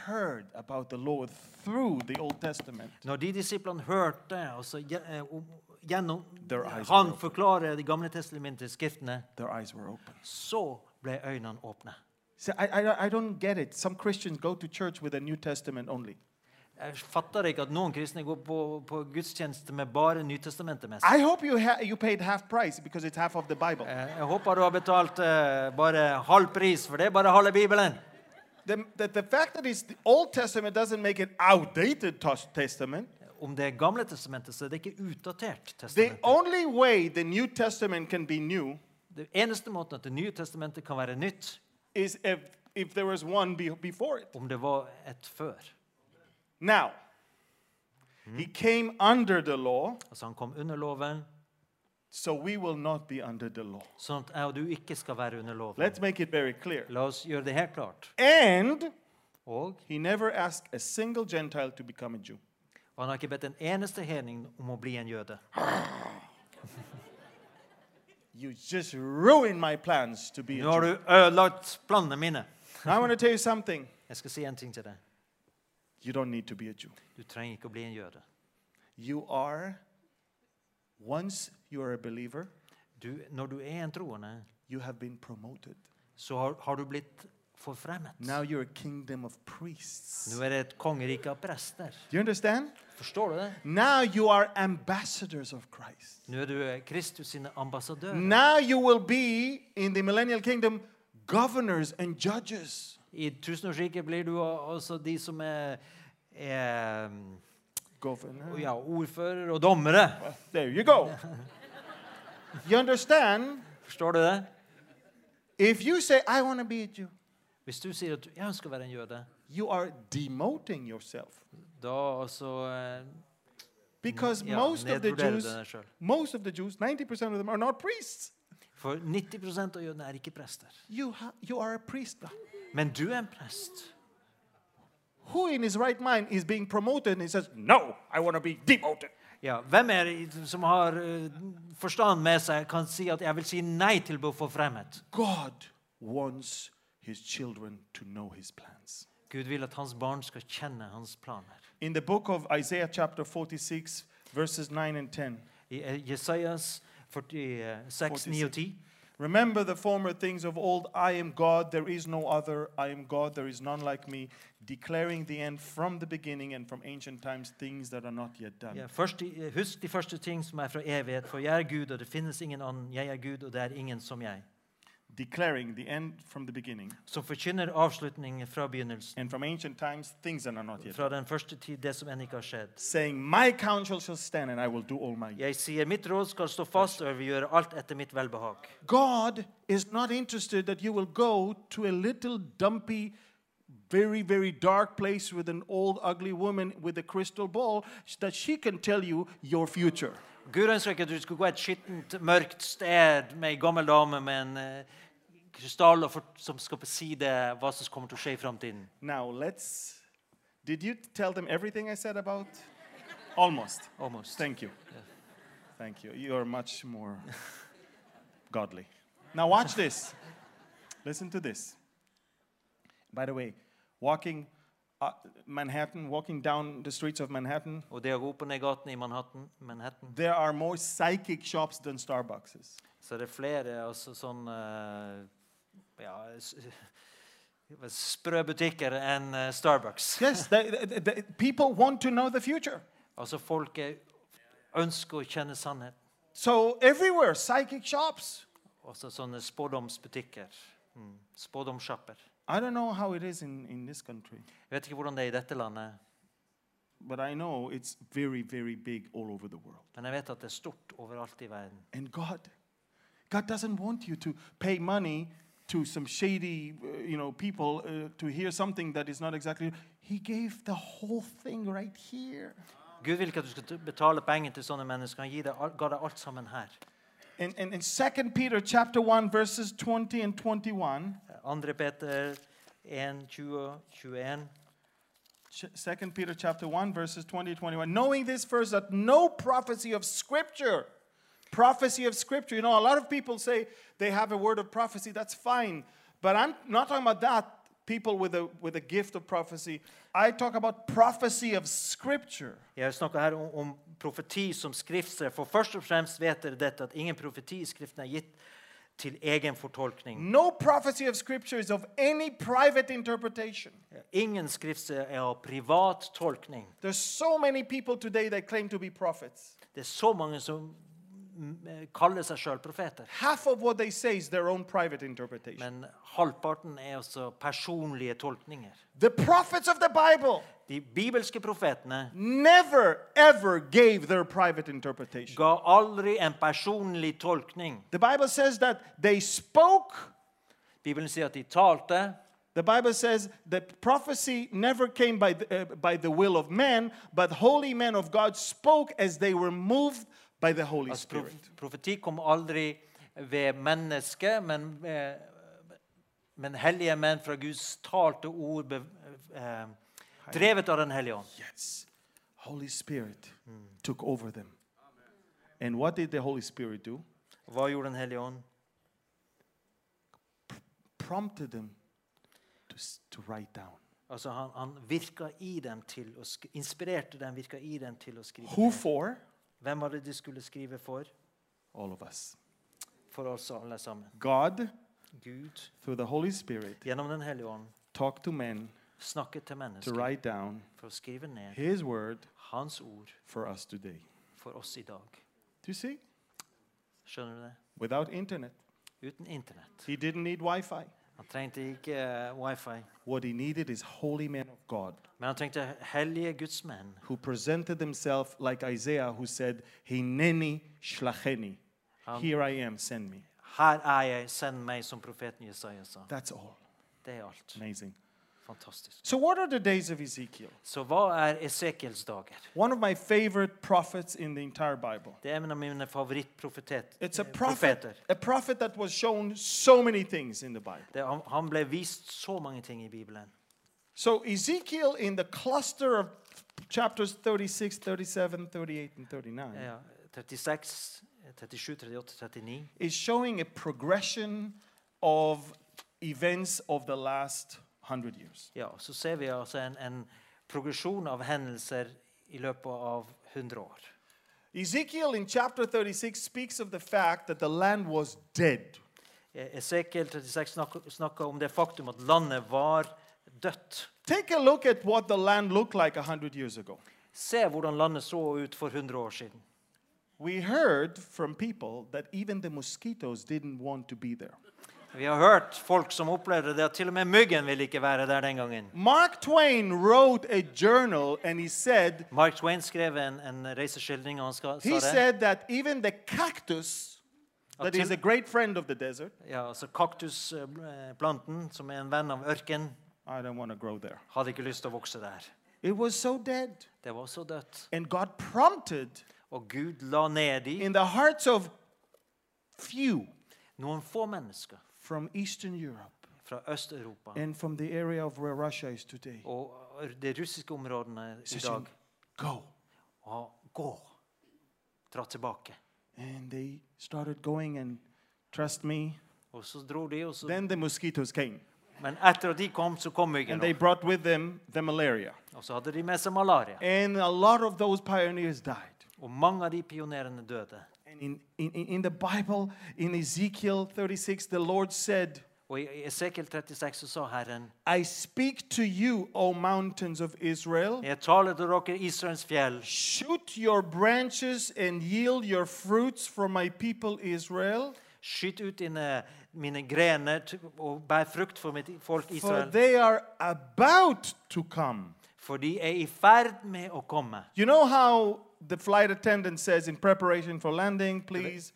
A: heard about the Lord through the Old Testament,
B: Når de disiplene hørte altså, gje- eh, om- gjennom
A: Their eyes
B: Han
A: were open.
B: forklarer de gamle testamentiske skriftene,
A: their eyes were open.
B: så ble øynene åpne.
A: See, I, I, I don't get it. Some Christians go to church with the New Testament only.
B: Jeg fatter ikke at noen kristne går på, på gudstjeneste med bare Nytestamentet med seg.
A: I hope you, ha- you paid half price because it's half of the Bible.
B: Eh, Jeg håper du har betalt eh, bare halv pris, for det er bare halve Bibelen.
A: The, the, the fact that it's the Old Testament doesn't make it outdated tos- Testament.
B: Om det er Gamle testamentet, så er det ikke utdatert.
A: The
B: testament.
A: only way the New Testament can be new
B: Det eneste måten at Det nye testamentet kan være nytt,
A: is if, if there was one be- before it.
B: om det var et før.
A: Now,
B: Hmm?
A: he came under the law,
B: Altså Han kom under loven,
A: so we will not be under the law.
B: sånn at jeg og du ikke skal være under loven.
A: Let's make it very clear.
B: La oss gjøre det helt klart.
A: And
B: Og
A: he never asked a single Gentile to become a Jew.
B: og han har ikke bedt en eneste hedning om å bli en jøde.
A: You just ruined my plans to be a
B: Nå har
A: Jew.
B: du ødelagt planene mine.
A: Now I want to tell you something.
B: Jeg skal si en ting til deg.
A: You don't need to be a Jew.
B: Du trenger ikke å bli en jøde.
A: You are, once you are a believer,
B: Du, når du er en troende,
A: you have been promoted.
B: så har, har du blitt forfremmet.
A: Now you're a kingdom of priests.
B: Nå er det et kongerike av prester.
A: Do you understand?
B: Forstår du det?
A: Now you are ambassadors of Christ.
B: Nå er du Kristus sine ambassadører.
A: Now you will be in the millennial kingdom governors and judges.
B: I tusenårsriket blir du altså de som er, er
A: Governor.
B: ja, ordfører og dommere.
A: There you go. you understand?
B: Forstår du det?
A: If you say, I want to be a Jew,
B: Hvis du sier at du, jeg ønsker å være en jøde,
A: you are demoting yourself.
B: da altså eh,
A: Because
B: ja,
A: most of the
B: nedvurderer du
A: Jews,
B: deg selv.
A: most of the Jews, 90% of them are not priests.
B: For 90 av jødene er ikke prester.
A: You, ha- you are a priest.
B: Men du er en prest.
A: Who in his right mind is being promoted and he says, No, I want to be demoted?
B: Ja, hvem er det som har eh, forstand med seg, kan si at 'jeg vil si nei til å bli forfremmet'?
A: God wants his children to know his plans.
B: Gud vil at hans barn skal kjenne hans planer.
A: In the book of Isaiah, chapter 46, verses 9 and 10,
B: I eh, Jesajas 46, 9 og 10.
A: remember the former things of old. I am God, there is no other. I am God, there is none like me, declaring the end from the beginning and from ancient times, things that are not yet done.
B: Ja, først, i- eh, husk de første ting som er fra evighet, for jeg er Gud, og det finnes ingen annen. Jeg er Gud, og det er ingen som jeg.
A: Declaring the end from the beginning
B: Som forkynner avslutningen fra begynnelsen,
A: and from ancient times, things that are not yet done.
B: fra den første tid, det som ennå ikke har skjedd.
A: Saying, My counsel shall stand and I will do all my.
B: Jeg sier, mitt råd skal stå fast, og jeg vil gjøre alt etter mitt velbehag.
A: God is not interested that you will go to a little dumpy, very, very dark place with an old, ugly woman with a crystal ball sh- that she can tell you your future.
B: Gud ønsker ikke at du skulle gå et skittent, mørkt sted med ei gammel dame med en eh, krystall og fort- som skal beside hva som kommer til å skje i framtiden.
A: Now let's. Did you tell them everything I said about? Almost.
B: Almost.
A: Thank you. Thank you. You are much more godly. Now watch this. Listen to this. By the way, walking uh, Manhattan, walking down the streets of Manhattan,
B: Og det å gå opp og ned gaten i Manhattan, Manhattan
A: there are more psychic shops than Starbucks.
B: så er det flere altså, sånn eh, ja, s- sprø butikker enn eh, Starbucks.
A: Yes, they, they- they- people want to know the future.
B: Altså folk er- ønsker å kjenne sannhet.
A: So everywhere, psychic shops.
B: Også sånne spådomsbutikker. Mm. Spådomssjapper.
A: I don't know how it is in, in this country,
B: Jeg vet ikke hvordan det er i dette landet,
A: but I know it's very, very big all over the world.
B: men jeg vet at det er stort overalt i verden.
A: And God, God doesn't want you to pay money to some shady, uh, you know, people uh, to hear something that is not exactly. He gave the whole thing right here.
B: Gud vil ikke at du skal t- betale penger til sånne mennesker. Han gir deg, al- ga deg alt sammen her.
A: And in, in 2 Peter chapter 1, verses 20 and 21,
B: 2. Peter 1, 20, 21.
A: Ch- 2 Peter chapter 1, verses 20 and 21, knowing this first, that no prophecy of Scripture, prophecy of Scripture, you know, a lot of people say they have a word of prophecy, that's fine. But I'm not talking about that, people with a, with a gift of prophecy. I talk about prophecy of Scripture.
B: Jeg snakker her om, om profeti som skriftstref. For først og fremst vet dere dette, at ingen profeti i Skriften er gitt til egen fortolkning.
A: No prophecy of Scripture is of any private interpretation.
B: Ingen skriftstref er av privat tolkning.
A: There's so many people today that claim to be prophets.
B: Det er så mange som mm, kaller seg sjøl profeter.
A: Half of what they say is their own private interpretation.
B: Men halvparten er altså personlige tolkninger.
A: The prophets of the Bible
B: De bibelske profetene
A: never ever gave their private interpretation.
B: ga aldri en personlig tolkning.
A: The Bible says that they spoke.
B: Bibelen sier at de talte.
A: The Bible says that prophecy never came by the, uh, by the will of man, but holy men of God spoke as they were moved by the Holy
B: Altså, prof
A: Spirit.
B: profeti kom aldri ved mennesket, men, eh, men hellige menn fra Guds talte ord be, eh, drevet av Den hellige ånd.
A: Yes. Holy Spirit took over them. And what did the Holy Spirit do?
B: Hva gjorde Den hellige ånd?
A: Prompted them to, s- to write down.
B: Altså han, han virka i dem til å sk inspirerte dem, virka i dem til å skrive.
A: Who
B: ned.
A: for?
B: Hvem var det de skulle skrive for?
A: All of us.
B: For oss alle sammen.
A: God,
B: Gud,
A: through the Holy Spirit,
B: gjennom Den hellige ånd,
A: talked to men
B: snakket til
A: to
B: mennesker
A: write down
B: for å skrive ned
A: His word
B: Hans ord
A: for us today.
B: for oss i dag.
A: Do you see?
B: Skjønner du det?
A: Without internet,
B: Uten Internett.
A: he didn't need Wi Fi.
B: Han trengte ikke eh, wifi,
A: What he needed is holy men of God
B: men han trengte hellige gudsmenn
A: who presented themselves like Isaiah, who said, Hineni shlacheni.
B: Um,
A: Here I am, send me.
B: Her er jeg, send meg, som profeten Jesaja sa.
A: That's all.
B: Det er alt.
A: Amazing.
B: Fantastisk.
A: So, what are the days of Ezekiel?
B: Så hva er Esekiels dager?
A: One of my favorite prophets in the entire Bible.
B: Det er en av mine favorittprofeter.
A: It's a
B: eh,
A: prophet, a prophet that was shown so many things in the Bible.
B: Det, han, han ble vist så mange ting i Bibelen.
A: So, Ezekiel in the cluster of chapters 36, 37, 38, and 39
B: Ja, 36, 37, 38, 39.
A: is showing a progression of events of the last hundred years.
B: Ja, så ser vi altså en, en progresjon av hendelser i løpet av 100 år.
A: Ezekiel in chapter 36 speaks of the fact that the land was dead.
B: E- Esekiel 36 snakker, snakker om det faktum at landet var dødt.
A: Take a look at what the land looked like 100 years ago.
B: Se hvordan landet så ut for 100 år siden.
A: We heard from people that even the mosquitoes didn't want to be there.
B: Vi har hørt folk som opplevde det, at til og med myggen ville ikke være der den gangen.
A: Mark Twain wrote a journal and he said,
B: Mark Twain skrev en, en reiseskildring, og han ska,
A: He
B: sa det.
A: said that even the cactus, that is
B: till-
A: a great friend of the desert,
B: Ja, altså Kaktusplanten, som er en venn av ørken,
A: I don't want to grow there.
B: hadde ikke lyst til å vokse der.
A: It was so dead.
B: Det var så dødt.
A: And God prompted
B: Og Gud la ned de
A: in the hearts of few
B: noen få mennesker
A: from Eastern Europe
B: fra Øst-Europa
A: and from the area of where Russia is today.
B: og de russiske områdene i
A: Says,
B: dag.
A: Go.
B: Og gå. Dra tilbake.
A: And they started going, and trust me,
B: Og så dro de, og så,
A: then the mosquitoes came.
B: men etter at de kom, så kom myggen.
A: And they
B: opp.
A: brought with them the malaria.
B: Og så hadde de med seg malaria.
A: And a lot of those pioneers died.
B: Og mange av de pionerene døde.
A: And in, in, in in the Bible, in Ezekiel 36, the Lord said,
B: Og i Esekiel 36 så sa Herren,
A: I speak to you, O mountains of Israel.
B: jeg taler til dere Israels fjell.
A: Shoot your branches and yield your fruits for my people Israel.
B: Skyt ut dine, mine grener t- og bær frukt for mitt folk
A: For
B: Israel,
A: they are about to come.
B: for de er i ferd med å komme.
A: You know how the flight attendant says in preparation for landing, please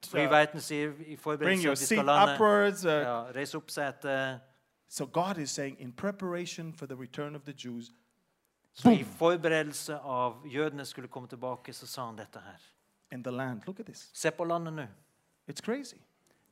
B: Flyverten sier i
A: bring
B: forberedelse
A: your
B: at de
A: seat
B: skal lande.
A: upwards. uh,
B: Ja, reis opp setet.
A: So God is saying, in preparation for the return of the Jews,
B: Så i forberedelse av jødene skulle komme tilbake, så sa han dette her.
A: in the land. Look at this.
B: Se på landet nå.
A: It's crazy.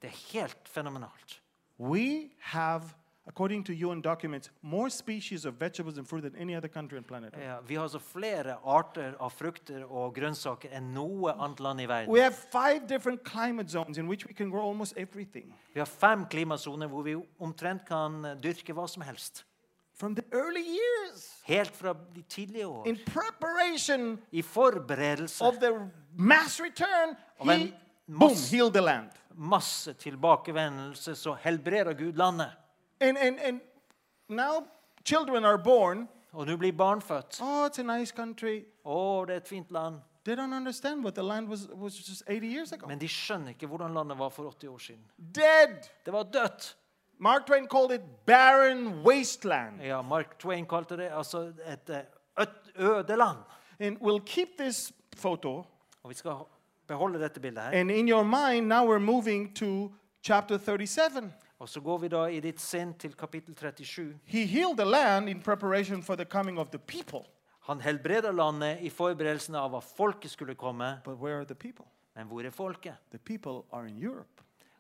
B: Det er helt fenomenalt.
A: We have, according to UN documents, more species of vegetables and fruit than any other country on planet Earth.
B: Ja, vi har altså flere arter av frukter og grønnsaker enn noe annet land i
A: We
B: verden.
A: have five different climate zones in which we can grow almost everything.
B: Vi har fem klimasoner hvor vi omtrent kan eh, dyrke hva som helst.
A: From the early years,
B: Helt fra de tidlige år.
A: in preparation
B: I forberedelse.
A: of the mass return,
B: Of
A: he,
B: en
A: boom,
B: mass-
A: healed the land.
B: Masse tilbakevendelse, så helbreder Gud landet.
A: And, and, and now children are born.
B: Og nå blir barn født. Å,
A: Oh, it's a nice country.
B: det er et fint land.
A: They don't understand what the land was, was just 80 years ago.
B: Men de skjønner ikke hvordan landet var for 80 år siden.
A: Dead.
B: Det var dødt.
A: Mark Twain called it barren wasteland.
B: Ja, Mark Twain kalte det altså et eh, øt- øde land.
A: And we'll keep this photo.
B: Og vi skal beholde dette bildet her.
A: And in your mind, now we're moving to chapter 37.
B: Og så går vi da i ditt sinn til kapittel 37.
A: He healed the land in preparation for the coming of the people.
B: Han helbreder landet i forberedelsen av at folket skulle komme.
A: But where are the people?
B: Men hvor er folket?
A: The people are in Europe.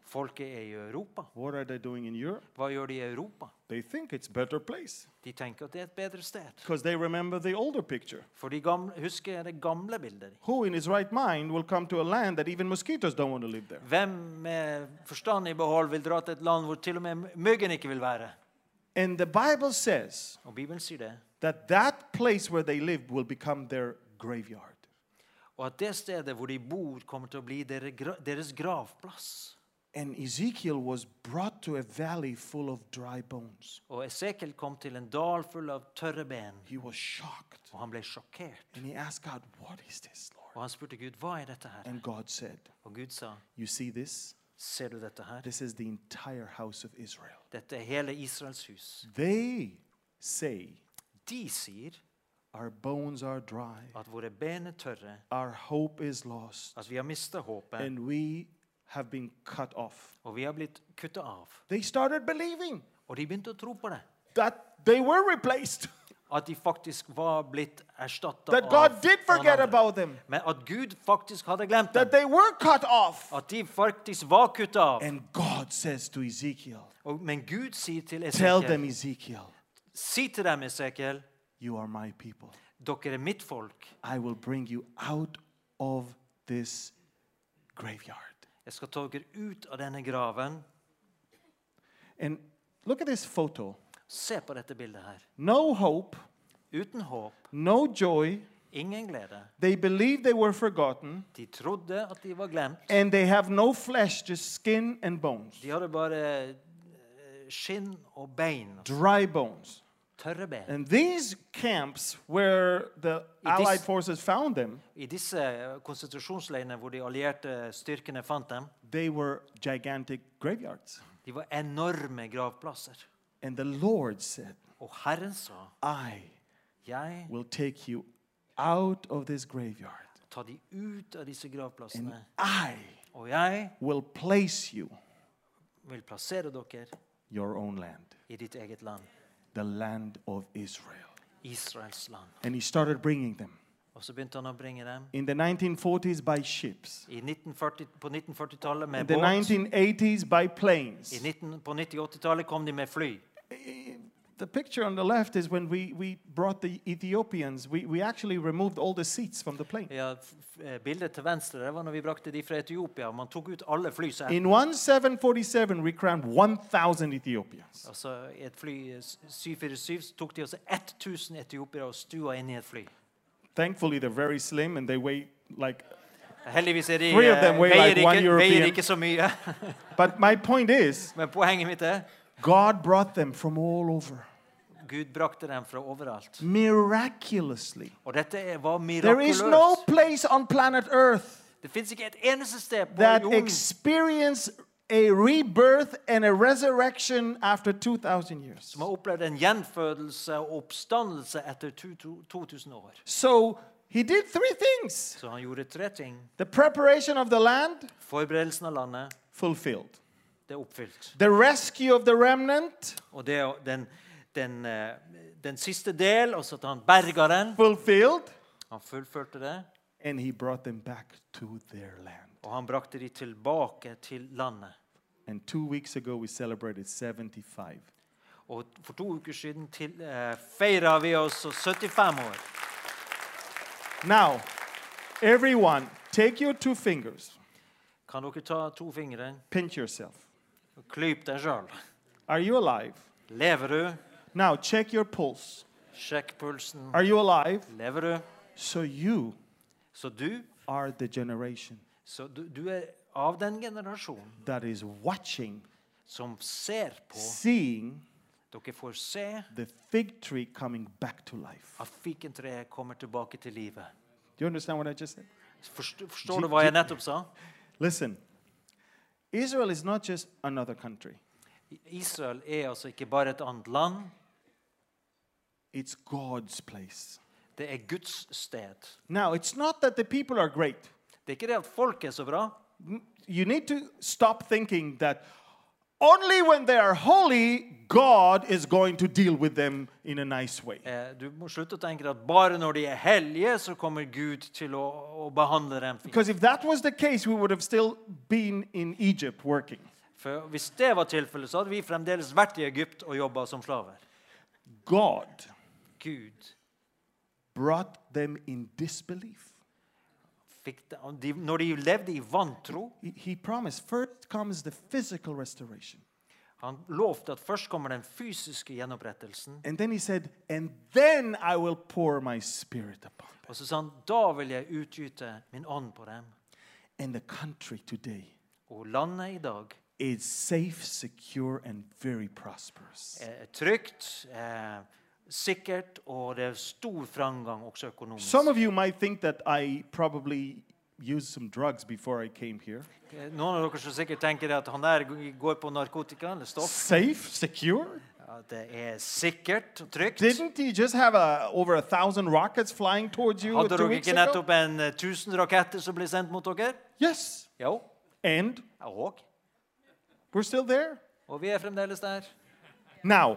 B: Folket er i Europa.
A: What are they doing in Europe?
B: Hva gjør de i Europa?
A: They think it's better place
B: De tenker at det er et bedre sted.
A: because they remember the older picture.
B: For de gamle, husker det gamle bildet. de.
A: Who in his right mind will come to a land that even mosquitoes don't want to live there?
B: Hvem med forstand i behold vil dra til et land hvor til og med myggen ikke vil være?
A: And the Bible says
B: Og Bibelen sier det.
A: that that place where they lived will become their graveyard.
B: Og at det stedet hvor de bor, kommer til å bli dere gra- deres gravplass.
A: And Ezekiel was brought to a valley full of dry bones.
B: Og Esekiel kom til en dal full av tørre ben,
A: He was shocked.
B: og han ble sjokkert.
A: And he asked God, What is this, Lord?
B: Og han spurte Gud, hva er dette her?
A: And God said,
B: Og Gud sa,
A: You see this?
B: ser du dette her?
A: This is the entire house of Israel.
B: Dette er hele Israels hus.
A: They say,
B: De sier
A: Our bones are dry,
B: at våre ben er tørre,
A: our hope is lost,
B: at vi har mistet håpet,
A: and we have been cut off.
B: og vi har blitt kuttet av.
A: They started believing
B: Og de begynte å tro på det.
A: that they were replaced,
B: At de faktisk var blitt erstattet
A: that
B: av
A: God did
B: noen
A: forget
B: andre.
A: about them,
B: Men at Gud faktisk hadde glemt
A: that
B: dem.
A: they were cut off.
B: At de faktisk var kuttet av.
A: And God says to Ezekiel,
B: Og, men Gud sier til
A: Tell
B: Esekiel,
A: them, Ezekiel,
B: si til dem, Esekiel,
A: you are my people.
B: dere er mitt folk.
A: I will bring you out of this graveyard.
B: Jeg skal ta dere ut av denne graven.
A: And look at this photo
B: Se på dette bildet her.
A: no hope,
B: Uten håp,
A: no joy.
B: ingen glede.
A: They believe they were forgotten,
B: De trodde at de var glemt.
A: and they have no flesh, just skin and bones.
B: De hadde bare eh, skinn og bein.
A: Dry bones.
B: Tørre ben.
A: And these camps where the
B: It is-
A: Allied forces found them,
B: I disse konsentrasjonsleirene hvor de allierte styrkene fant dem,
A: they were gigantic graveyards.
B: de var enorme gravplasser.
A: And the Lord said,
B: Og Herren sa,
A: I
B: jeg
A: will take you out of this graveyard,
B: tar de ut av disse
A: and
B: gravplassene,
A: I
B: og jeg
A: will place you
B: vil plassere dere
A: your own land,
B: i ditt eget land,
A: the land of Israel.
B: Israels land.
A: And he started bringing them.
B: Og Og så begynte han å bringe dem.
A: in the 1940s by ships,
B: I 1940, på 1940-tallet
A: in
B: med
A: the
B: båt.
A: 1980s by planes.
B: I 19, på 90-80-tallet kom de med fly.
A: The picture on the left is when we, we brought the Ethiopians, we, we actually removed all the seats from the plane.
B: Ja, f- f- eh, bildet til venstre det var når vi brakte de fra Etiopia. Man tok ut alle flysetene.
A: In one 747, we crammed 1,000 Ethiopians.
B: Altså, I et fly eh, s- 747 så tok de også 1000 etiopiere og stua inn i et fly.
A: Thankfully, they're very slim and they weigh like.
B: Heldigvis er de,
A: Three of
B: eh,
A: them weigh
B: veier,
A: like one
B: ikke,
A: European.
B: veier ikke så mye.
A: But my point is,
B: Men poenget mitt er
A: God brought them from all over
B: Gud brakte dem fra overalt.
A: miraculously.
B: Og dette er- var
A: There is no
B: mirakuløst.
A: place on planet Earth
B: Det fins ikke et eneste sted på
A: that
B: jorden
A: experience a rebirth and a resurrection after 2,000 years.
B: som har opplevd en gjenfødelse og oppstandelse etter tu- tu- 2000 år.
A: So he did three things
B: Så han gjorde tre ting.
A: the preparation of the land,
B: Forberedelsen av landet,
A: fulfilled.
B: det er oppfylt.
A: The rescue of the remnant,
B: Og det er den, den, eh, den siste del, altså at han berga den.
A: fulfilled.
B: Han fullførte det,
A: And he brought them back to their land.
B: og han brakte de tilbake til landet.
A: And two weeks ago, we celebrated 75.
B: Og for to uker siden til, eh, feira vi også 75 år.
A: Now, everyone, take your two fingers,
B: Kan dere ta to fingre
A: pinch yourself.
B: og klype deg sjøl?
A: Are you alive?
B: Lever du?
A: Now, check your pulse.
B: Sjekk pulsen.
A: Are you alive?
B: Lever du?
A: So you
B: Så du,
A: are the generation
B: så du, du er av den generasjonen
A: that is watching,
B: som ser på.
A: seeing
B: Dere får se
A: the fig tree coming back to life.
B: at fikentreet kommer tilbake til livet.
A: Do you understand what I just said?
B: Forstår, forstår du hva jeg nettopp sa?
A: Listen, Israel is not just another country,
B: Israel er altså ikke bare et annet land.
A: it's God's place.
B: Det er Guds sted.
A: Now, it's not that the people are great.
B: Det er ikke det at folk er så bra.
A: M- You need to stop thinking that only when they are holy, God is going to deal with them in a nice way.
B: Eh, Du må slutte å tenke at bare når de er hellige, så kommer Gud til å, å behandle dem fint.
A: Because if that was the case, we would have still been in Egypt working.
B: For hvis det var tilfellet, så hadde vi fremdeles vært i Egypt og jobba som slaver.
A: God
B: Gud
A: brought them in disbelief.
B: fikk det, og de, Når de levde i vantro
A: He- He promised first comes the physical restoration.
B: Han lovte at først kommer den fysiske gjenopprettelsen.
A: And then he said, And then I will pour my spirit upon them.
B: Og så sa han da vil jeg utgyte min ånd på dem.
A: And the country today
B: Og landet i dag
A: is safe, secure, and very prosperous.
B: er trygt, eh, sikkert, og det er stor framgang også økonomisk.
A: Some of you might think that I probably used some drugs before I came here.
B: Eh, Noen av dere som sikkert tenker at han der går på narkotika eller stoff.
A: Safe, secure?
B: At det er sikkert og trygt.
A: Didn't he just have a, over a thousand rockets flying towards you
B: Hadde
A: two
B: dere
A: weeks
B: ikke
A: ago?
B: nettopp en eh, 1000 raketter som ble sendt mot dere?
A: Yes.
B: Jo.
A: And
B: Og,
A: we're still there.
B: og vi er fremdeles der.
A: Now,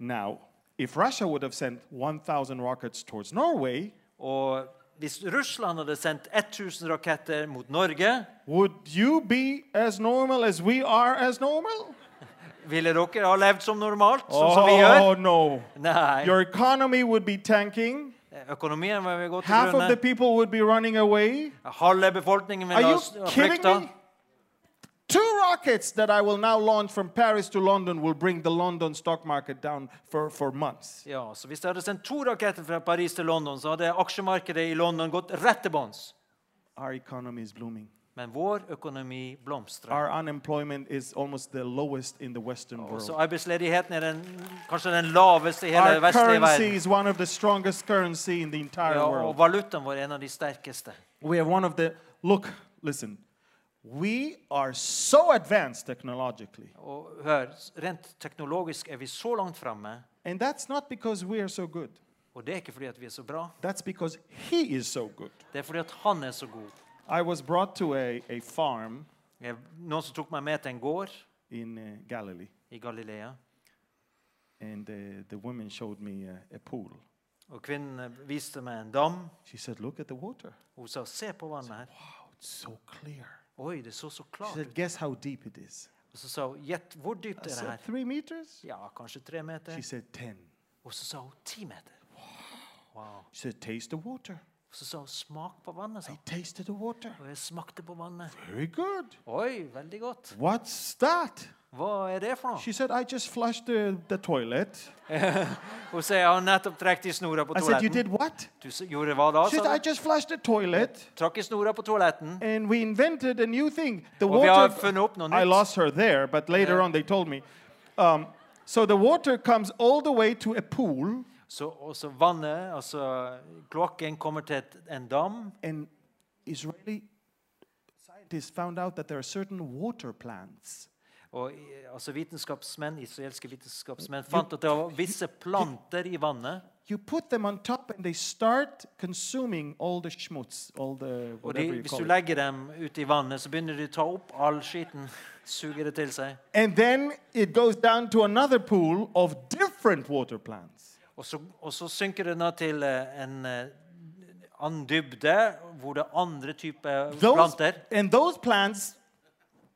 A: now, if Russia would have sent 1,000 rockets towards Norway,
B: Og hvis Russland hadde sendt 1000 raketter mot Norge,
A: would you be as normal as we are as normal? Oh,
B: ville dere ha levd som normalt, sånn som vi gjør?
A: no.
B: Nei.
A: Your economy would be tanking.
B: Økonomien vil gå til
A: Half of the
B: grunne.
A: people would be running away.
B: Halve befolkningen
A: Are
B: vil ha
A: you
B: s- ha
A: kidding
B: flykta.
A: me? Two rockets that I will now launch from Paris to London will bring the London stock market down for, for months.
B: Ja, så Hvis de hadde sendt to raketter fra Paris til London, så hadde aksjemarkedet i London gått rett til bunns.
A: Our economy is blooming.
B: Men vår økonomi blomstrer.
A: Our unemployment is almost the lowest in the Western world.
B: Også arbeidsledigheten er den, kanskje den laveste i hele
A: Our
B: vestlige
A: currency
B: verden.
A: is one of the strongest currency in the entire
B: Ja, og
A: world.
B: valutaen vår er en av de sterkeste.
A: We are one of the look, listen. We are so advanced technologically.
B: Og hør, Rent teknologisk er vi så langt framme,
A: And that's not because we are so good.
B: og det er ikke fordi at vi er så bra.
A: That's because he is so good.
B: Det er fordi at han er så god.
A: I was brought to a, a farm
B: Jeg, noen som tok meg med til en gård
A: in uh, Galilee,
B: i Galilea.
A: and uh, the woman showed me uh, a pool.
B: Og kvinnen viste meg en dam.
A: She said, Look at the water.
B: Hun sa, 'Se på vannet her.'
A: Wow, it's so clear.
B: Oi, det så så
A: She
B: klart
A: said,
B: ut.
A: Guess how deep it is?
B: Og så sa hun, 'Gjett hvor dypt
A: I
B: er det
A: said,
B: her?'
A: Three meters?
B: Ja, kanskje tre meter.
A: She said, Ten.
B: Og så sa hun, 'Ti meter'. Wow.
A: She said, Taste the water.
B: Og så sa hun, 'Smak på vannet', sa
A: I
B: hun.
A: tasted the water.
B: Og jeg smakte på vannet.
A: Very good.
B: Oi, veldig godt.
A: What's that?
B: Hva er det for noe?
A: She said, I just flushed the, the toilet.
B: Hun sier, 'Jeg har nettopp trukket i snora på
A: I Oh, said, You
B: toaletten'.
A: did what?
B: Du s- gjorde hva da?
A: She said,
B: sa
A: I
B: du?
A: just flushed the toilet.
B: Trakk i snora på toaletten.
A: And we invented a new thing. The
B: Og vi har
A: water.
B: funnet opp noe
A: I
B: nytt.
A: lost her there, but later on they told me. Um, so the water comes all the way to a pool,
B: Så også vannet, altså kloakken, kommer til et, en dam.
A: and Israeli scientists found out that there are certain water plants.
B: Og i- altså vitenskapsmenn, israelske vitenskapsmenn fant at det var visse planter i vannet.
A: You put them on top, and they start consuming all the schmutz, all the
B: Og
A: whatever
B: de,
A: you
B: hvis du
A: call it.
B: legger dem ut i vannet, så begynner de å ta opp all skitten. Suger det til seg.
A: And then it goes down to another pool of different water plants.
B: Og så, og så synker det ned til eh, en eh, annen dybde, hvor det er andre typer
A: Those,
B: planter.
A: and those plants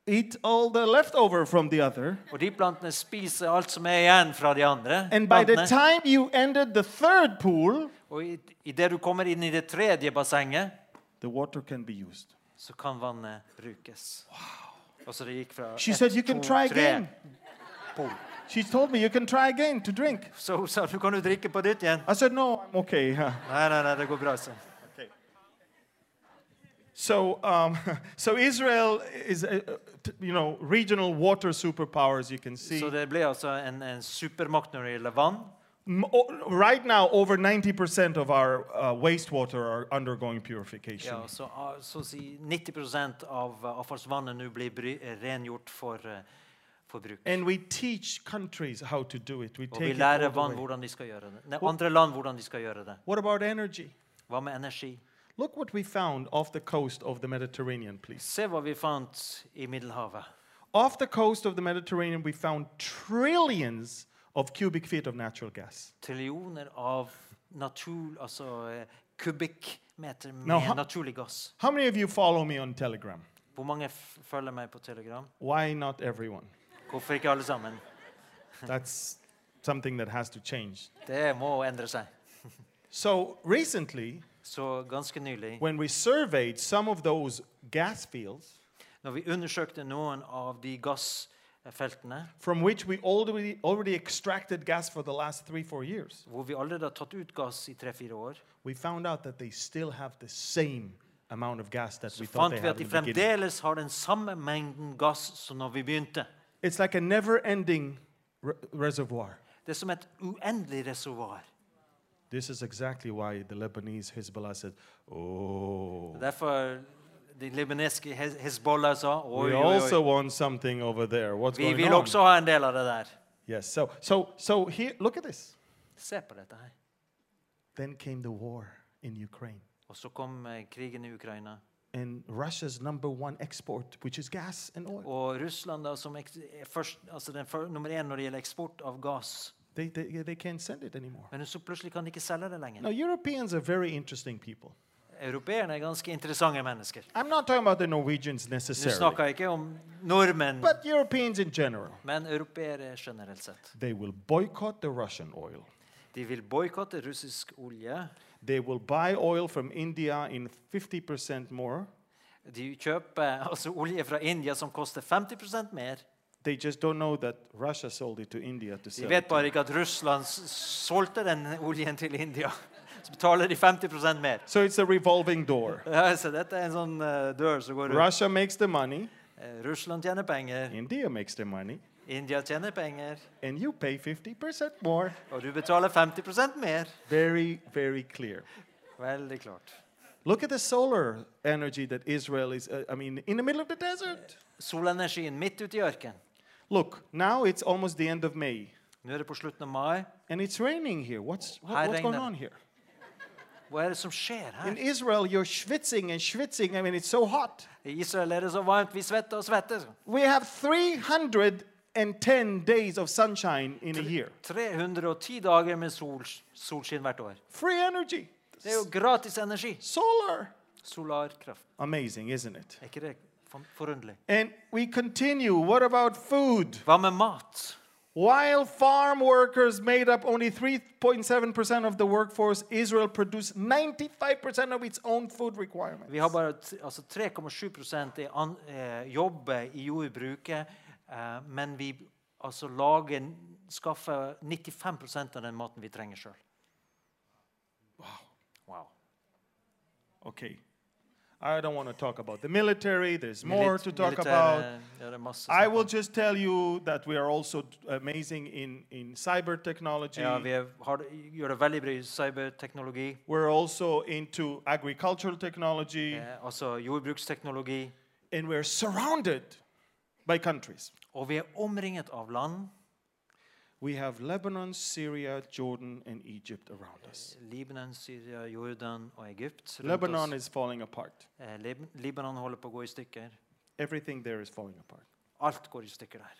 A: eat all the leftover from the other.
B: Og de plantene spiser alt som er igjen fra de andre.
A: And by the
B: plantene.
A: time you ended the third pool,
B: Og idet du kommer inn i det tredje bassenget,
A: the water can be used.
B: så kan vannet brukes. Og så det gikk fra
A: She
B: ett,
A: said you can
B: to,
A: try
B: tre
A: again.
B: pol.
A: She told me you can try again to drink.
B: Så hun sa du kan jo drikke på nytt igjen.
A: I said no, I'm okay. huh."
B: Nei, nei, nei, det går bra. Så.
A: So, um, so Israel is, uh, uh, t- you know, regional water superpower, as you can see.
B: så det ble altså en, en supermakt når det gjelder vann.
A: M- o- right now, over 90% of our uh, wastewater are undergoing purification.
B: Ja, så, ah, så å si 90 av eh, avfallsvannet nå blir bry, eh, rengjort for, eh, for bruk.
A: And we teach countries how to do it. We
B: Og vi
A: take it all
B: lærer
A: the
B: vann
A: way.
B: hvordan de skal gjøre det. Nei, andre land hvordan de skal gjøre det.
A: What about energy?
B: Hva med energi?
A: Look what we found off the coast of the Mediterranean, please.
B: Se hva vi fant i Middelhavet.
A: Off the coast of the Mediterranean, we found trillions of cubic feet of natural gas.
B: Trillioner av natur, altså eh, kubikkmeter med
A: Nå, ha-
B: naturlig gass.
A: How many of you follow me on Telegram?
B: Hvor mange f følger meg på Telegram?
A: Why not everyone?
B: Hvorfor ikke alle sammen?
A: That's something that has to change.
B: Det må endre seg.
A: So, recently,
B: Så ganske nylig,
A: when we surveyed some of those gas fields
B: når vi undersøkte noen av de gassfeltene,
A: from which we already, already extracted gas for the last three, four years,
B: hvor vi allerede har tatt ut gass i tre-fire år,
A: we found out that they still have the same amount of gas that
B: så
A: we thought
B: fant
A: they
B: vi
A: had
B: at
A: in
B: de
A: the beginning.
B: fremdeles har den samme mengden gass som når vi begynte.
A: It's like a never ending re- reservoir.
B: Det er som et uendelig reservoar.
A: This is exactly why the Lebanese Hezbollah said, Oh,
B: Derfor de libanesiske Hez- Hezbollah sa oi,
A: we
B: oi,
A: also
B: oi.
A: want something over there. What's
B: Vi
A: going
B: vil
A: on?
B: også ha en del av det der.
A: Yes, so, so, so here, look at this.
B: Se på dette her.
A: Then came the war in Ukraine.
B: Og så kom eh, krigen i Ukraina.
A: And Russia's number one export, which is gas and oil.
B: Og Russland da, som eks- er først, altså den før, nummer én når det gjelder eksport av gass.
A: They, they, they can't send it anymore.
B: Men så plutselig kan de ikke selge det lenger.
A: Now, Europeans are very interesting people.
B: Europeerne er ganske interessante mennesker.
A: I'm not talking about the Norwegians
B: Nå
A: necessarily,
B: snakker jeg ikke om nordmenn,
A: but Europeans in general.
B: men europeere generelt sett.
A: They will boycott the Russian oil.
B: De vil boikotte russisk olje.
A: They will buy oil from India in 50% more.
B: De kjøper altså olje fra India som koster 50 mer.
A: They just don't know that Russia sold it to India to
B: De
A: sell.
B: vet
A: It.
B: bare ikke at Russland s- solgte den oljen til India. Så betaler de 50 mer.
A: So it's a revolving door.
B: Ja, Så dette er en sånn eh, dør som går rundt.
A: Russia makes the money,
B: Eh, Russland tjener penger,
A: India makes the money,
B: India tjener penger,
A: and you pay 50% more.
B: og du betaler 50 mer.
A: Very, very clear.
B: Veldig klart.
A: Look at the solar energy that Israel is, uh, I mean, in the middle of the desert.
B: Solenergien midt ute i ørkenen.
A: Look, now it's almost the end of May,
B: Nå er det på slutten av mai.
A: and it's raining here. What's, what-
B: Hi,
A: what's going
B: Ragnar.
A: on here?
B: Hva er det som skjer
A: In
B: her?
A: Israel, you're schwitzing and schwitzing. I mean, it's so hot.
B: I Israel er det så varmt. Vi svetter og svetter.
A: We have 300 310 days of sunshine in a year.
B: 310 dager med sol, solskinn hvert år.
A: Free energy,
B: Det er jo gratis energi.
A: solar.
B: Solarkraft.
A: Amazing, isn't it?
B: Er ikke det for- forunderlig?
A: And we continue. What about food?
B: Hva med mat?
A: While farm workers made up only 3.7% of the workforce, Israel produced 95% of its own food requirements.
B: Vi har bare t- altså 3,7 i an- eh, jobber i jordbruket, eh, men vi altså lager, skaffer 95 av den maten vi trenger sjøl. Wow.
A: Okay. I don't want to talk about the military. There's more
B: Milit-
A: to talk
B: militære-
A: about.
B: eh, ja, det er masse
A: I
B: snakk
A: will
B: om.
A: just tell you that we are also t- amazing in, in cyber technology.
B: ja, Vi er- har, det- gjør det veldig bra i cyberteknologi,
A: We're also into agricultural technology,
B: eh, altså jordbruksteknologi.
A: and we're surrounded by countries.
B: Og vi er omringet av land.
A: We have Lebanon, Syria, Jordan, and Egypt around us.
B: Libanon, Syria, Jordan og Egypt. rundt
A: Lebanon
B: oss.
A: is falling apart.
B: Eh, Lib Libanon holder på å gå i stykker.
A: Everything there is falling apart.
B: Alt går i stykker der.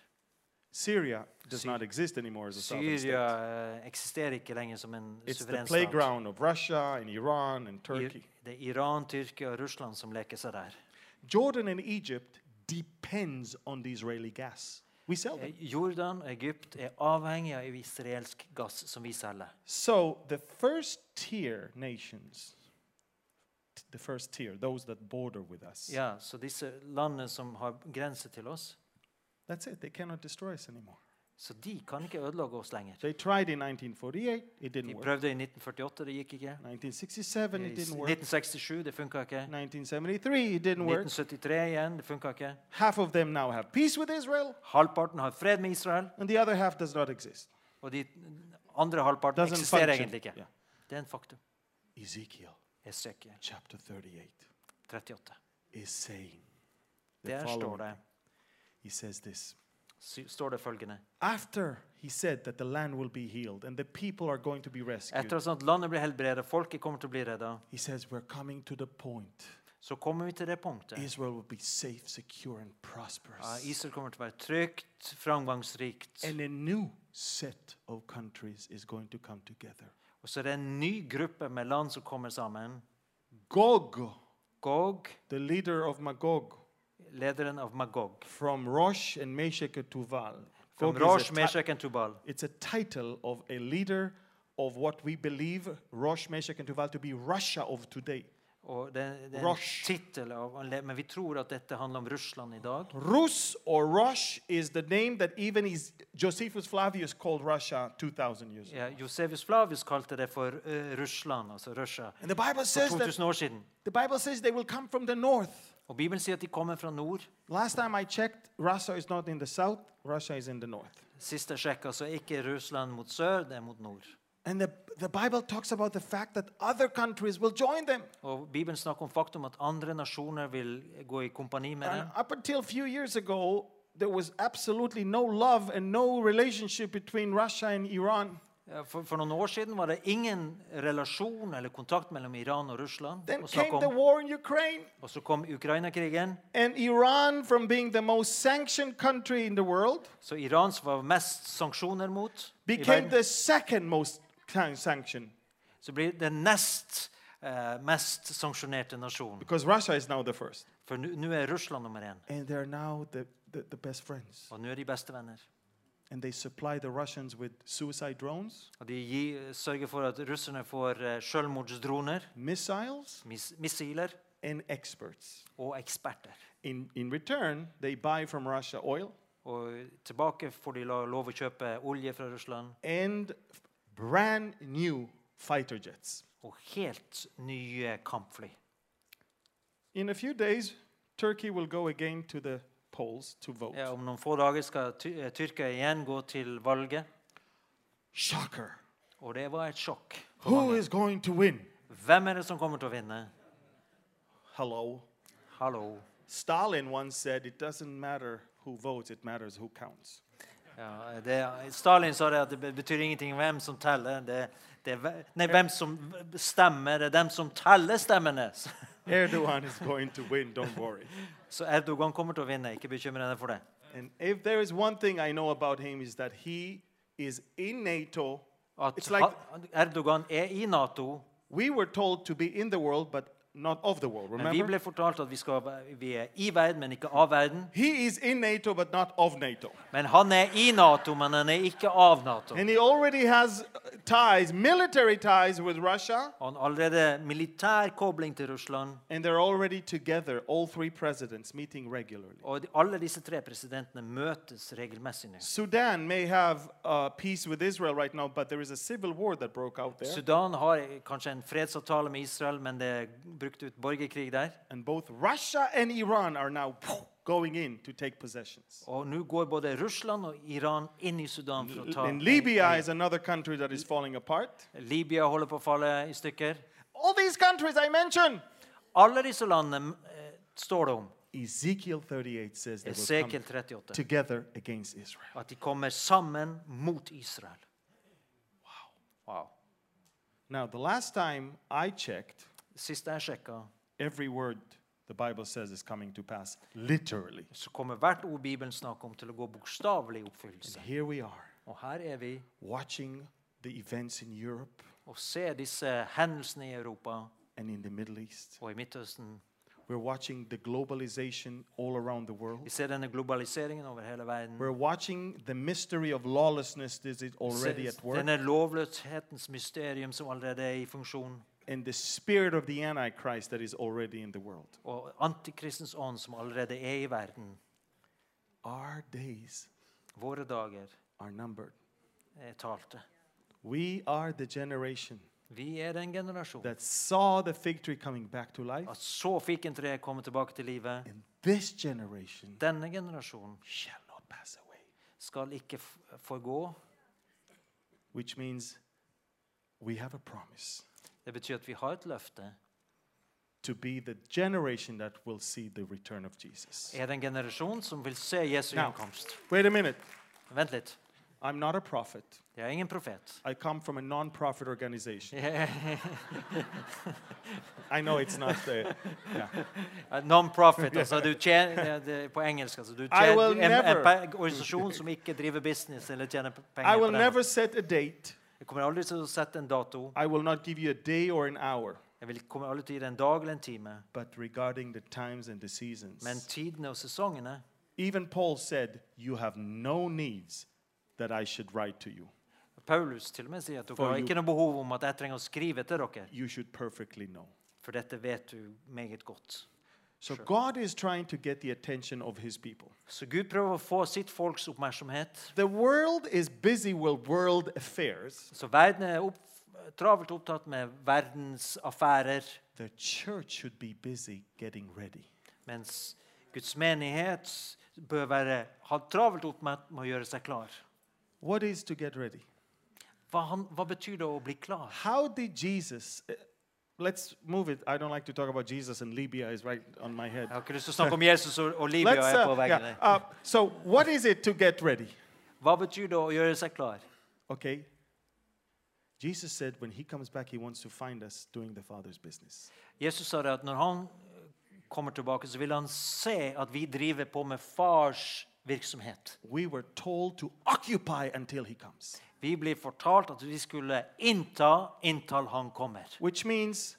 A: Syria does
B: Sy-
A: not exist anymore as a sovereign
B: Syria
A: state.
B: eh, eksisterer ikke lenger som en
A: It's the
B: suveren stat.
A: playground of Russia and Iran and
B: I-
A: Turkey.
B: Det er Iran, Tyrkia og Russland som leker seg der.
A: Jordan and Egypt depends on the Israeli gas. We sell
B: Eh,
A: them.
B: Jordan og Egypt er avhengig av israelsk gass som vi selger.
A: So the first tier nations, t- the first tier, those that border with us,
B: Ja, Så disse landene som har grense til oss,
A: that's it. They cannot destroy us anymore.
B: så de kan ikke ødelegge oss lenger.
A: They tried in 1948, it
B: De
A: didn't work.
B: prøvde i 1948, det gikk ikke.
A: 1967,
B: I
A: it
B: s-
A: didn't work.
B: 1967, det funka ikke.
A: 1973, it didn't work.
B: 1973 igjen, det funka ikke.
A: Half of them now have peace with Israel,
B: Halvparten har fred med Israel,
A: and the other half does not exist.
B: og de andre halvparten
A: Doesn't
B: eksisterer
A: function.
B: egentlig ikke.
A: Yeah.
B: Det er en faktum.
A: Ezekiel
B: Esekiel
A: chapter 38
B: 38.
A: is saying, the
B: Der står
A: following.
B: det,
A: he says this.
B: sy- står det følgende
A: After he said that the land will be healed and the people are going to be rescued,
B: Etter at landet blir helbredet, folket kommer til å bli redda,
A: he says, We're coming to the point.
B: så kommer vi til det punktet.
A: Israel will be safe, secure, and prosperous.
B: Ja, Israel kommer til å være trygt, framgangsrikt.
A: and a new set of countries is going to come together.
B: Og så er det en ny gruppe med land som kommer sammen.
A: Gog,
B: Gog,
A: the leader of Magog,
B: lederen av Magog.
A: from Rosh and Meshach and Tuval.
B: Fra
A: Gog is a
B: Rosh,
A: ti-
B: Meshach og Tubal.
A: it's a title of a leader of what we believe Rosh, Meshach, and Tuval to be Russia of today.
B: Og det, det er en
A: Rosh.
B: tittel av en le- Men vi tror at dette handler om Russland i dag.
A: Rus or Rosh is the name that even is Josephus Flavius called Russia 2,000 years ago.
B: Ja, Josefus Flavius kalte det for eh, Russland, altså Russia,
A: And the Bible
B: for
A: says that
B: 2000 år siden.
A: the Bible says they will come from the north.
B: Og Bibelen sier at de kommer fra nord.
A: Last time I checked, Russia is not in the south, Russia is in the north.
B: Sist jeg sjekka, så altså, er ikke Russland mot sør, det er mot nord.
A: And the, the Bible talks about the fact that other countries will join them.
B: Og Bibelen snakker om faktum at andre nasjoner vil gå i kompani med
A: And
B: dem.
A: up until a few years ago, there was absolutely no love and no relationship between Russia and Iran.
B: Eh, For, for noen år siden var det ingen relasjon eller kontakt mellom Iran og Russland.
A: Then
B: å snakke
A: came the
B: om.
A: war in Ukraine.
B: Og så kom Ukraina-krigen.
A: And Iran, from being the most sanctioned country in the world,
B: Så Iran som var mest sanksjoner mot, i
A: became
B: verden,
A: the second most san- sanctioned
B: så blir det nest eh, mest sanksjonerte nasjon.
A: because Russia is now the first.
B: For nå nå er Russland nummer én.
A: And they're now the, the, the best friends.
B: Og nå er de bestevenner.
A: And they supply the Russians with suicide drones,
B: Og de gir, sørger for at russerne får eh, selvmordsdroner,
A: missiles,
B: mis missiler
A: and experts.
B: og eksperter.
A: In, in return, they buy from Russia oil
B: Og tilbake får de la- lov å kjøpe olje fra Russland
A: and brand new fighter jets.
B: og helt nye kampfly.
A: In a few days, Turkey will go again to the polls to vote.
B: Ja, om noen få dager skal ty eh, Tyrkia igjen gå til valget,
A: Shocker.
B: og det var et sjokk. for
A: Who
B: mange.
A: is going to win?
B: Hvem er det som kommer til å vinne?
A: Hello.
B: Hallo.
A: Stalin once said, It doesn't matter who votes, it matters who counts.
B: Ja, eh, det, Stalin sa det at det be- betyr ingenting hvem som teller. Det, det er, ve- nei, hvem som v- stemmer, det er dem som teller stemmene. Så-
A: Erdogan is going to win, don't worry.
B: Så Erdogan kommer til å vinne, ikke bekymre deg for det.
A: And if there is one thing I know about him is that he is in NATO.
B: At
A: It's like
B: ha- Erdogan er i Nato,
A: we were told to be in the world, but not of the world.
B: men vi
A: Remember?
B: ble fortalt at vi, skal, være- vi er i verden, men ikke av verden.
A: He is in NATO, but not of NATO.
B: Men han er i Nato, men han er ikke av Nato.
A: And he already has uh, ties, military ties with Russia,
B: Han har allerede militær kobling til Russland,
A: and they're already together, all three presidents meeting regularly.
B: og de- alle disse tre presidentene møtes regelmessig nå.
A: Sudan may have uh, peace with Israel right now, but there is a civil war that broke out there,
B: Sudan har kanskje en fredsavtale med Israel, men det er brukt ut borgerkrig der.
A: and both Russia and Iran are now going in to take possessions.
B: Og nå går både Russland og Iran inn i Sudan for å ta
A: And Libya is another country that is falling apart.
B: Libya holder på å falle i stykker.
A: All these countries I mentioned.
B: Alle disse landene eh, står det om.
A: Ezekiel 38 says they will
B: Esekiel
A: come
B: 38.
A: together against Israel.
B: At de kommer sammen mot Israel. Wow.
A: Now, the last time I checked,
B: Sist jeg sjekka,
A: every word the Bible says is coming to pass, literally.
B: så kommer hvert ord Bibelen snakker om, til å gå bokstavelig i
A: And
B: oppfyllelse.
A: here we are,
B: Og her er vi
A: watching the events in Europe
B: og ser disse hendelsene i Europa
A: and in the Middle East.
B: og i Midtøsten.
A: We're watching the globalization all around the world.
B: Vi ser denne globaliseringen over hele verden.
A: We're watching the mystery of lawlessness that is
B: Se-
A: already at work
B: Denne lovløshetens mysterium som allerede er i funksjon,
A: and the spirit of the Antichrist that is already in the world.
B: og antikristens ånd som allerede er i verden.
A: Our days
B: Våre dager
A: are numbered.
B: er talte.
A: We are the generation
B: Vi er den generasjonen
A: that saw the fig tree coming back to life.
B: at så fikk en tre komme tilbake til livet.
A: And this generation
B: Denne generasjonen
A: shall not pass away.
B: skal ikke f- forgå.
A: Which means we have a promise
B: Det betyr at vi har et løfte.
A: to be the generation that will see the return of Jesus.
B: Er det en generasjon som vil se Jesu
A: Now.
B: gjenkomst?
A: Wait a minute.
B: Vent litt.
A: I'm not a prophet.
B: Jeg er ingen profet.
A: I come from a non-profit organization. I know it's not the. Yeah.
B: Eh, Non-profit, altså. Du tjener, det- det er på engelsk. altså. Du tjener
A: will
B: du er en, en
A: never-
B: pe- organisasjon som ikke driver business eller tjener p- penger.
A: I
B: på
A: will
B: den.
A: never set a date.
B: Jeg kommer aldri til å sette en dato.
A: I will not give you a day or an hour.
B: Jeg vil kommer aldri til å gi deg en dag eller en time.
A: But regarding the times and the seasons,
B: Men tidene og sesongene
A: Even Paul said, You have no needs that I should write to you.
B: Paulus til og med sier at dere
A: For
B: har
A: you-
B: ikke noe behov om at jeg trenger å skrive til dere,
A: You should perfectly know.
B: for dette vet du meget godt.
A: So God is trying to get the attention of his people.
B: Så Gud prøver å få sitt folks oppmerksomhet.
A: The world is busy with world affairs,
B: Så verden er opp, travelt opptatt med verdens affærer,
A: the church should be busy getting ready.
B: mens Guds menighet bør være ha travelt opp med, med å gjøre seg klar.
A: What is to get ready?
B: Hva, han, hva betyr det å bli klar?
A: How did Jesus. eh, Let's move it. I don't like to talk about Jesus and Libya is right on my head.
B: Jeg har ikke lyst til å snakke om Jesus og, og livet
A: Let's,
B: jeg er på
A: uh,
B: veggen
A: yeah,
B: der.
A: uh, so, what is it to get ready?
B: Hva betyr det å gjøre seg klar?
A: Okay? Jesus said when he comes back, he wants to find us doing the Father's business.
B: Jesus sa det at når han kommer tilbake, så vil han se at vi driver på med fars virksomhet.
A: We were told to occupy until he comes,
B: Vi blir fortalt at vi skulle innta inntil han kommer.
A: which means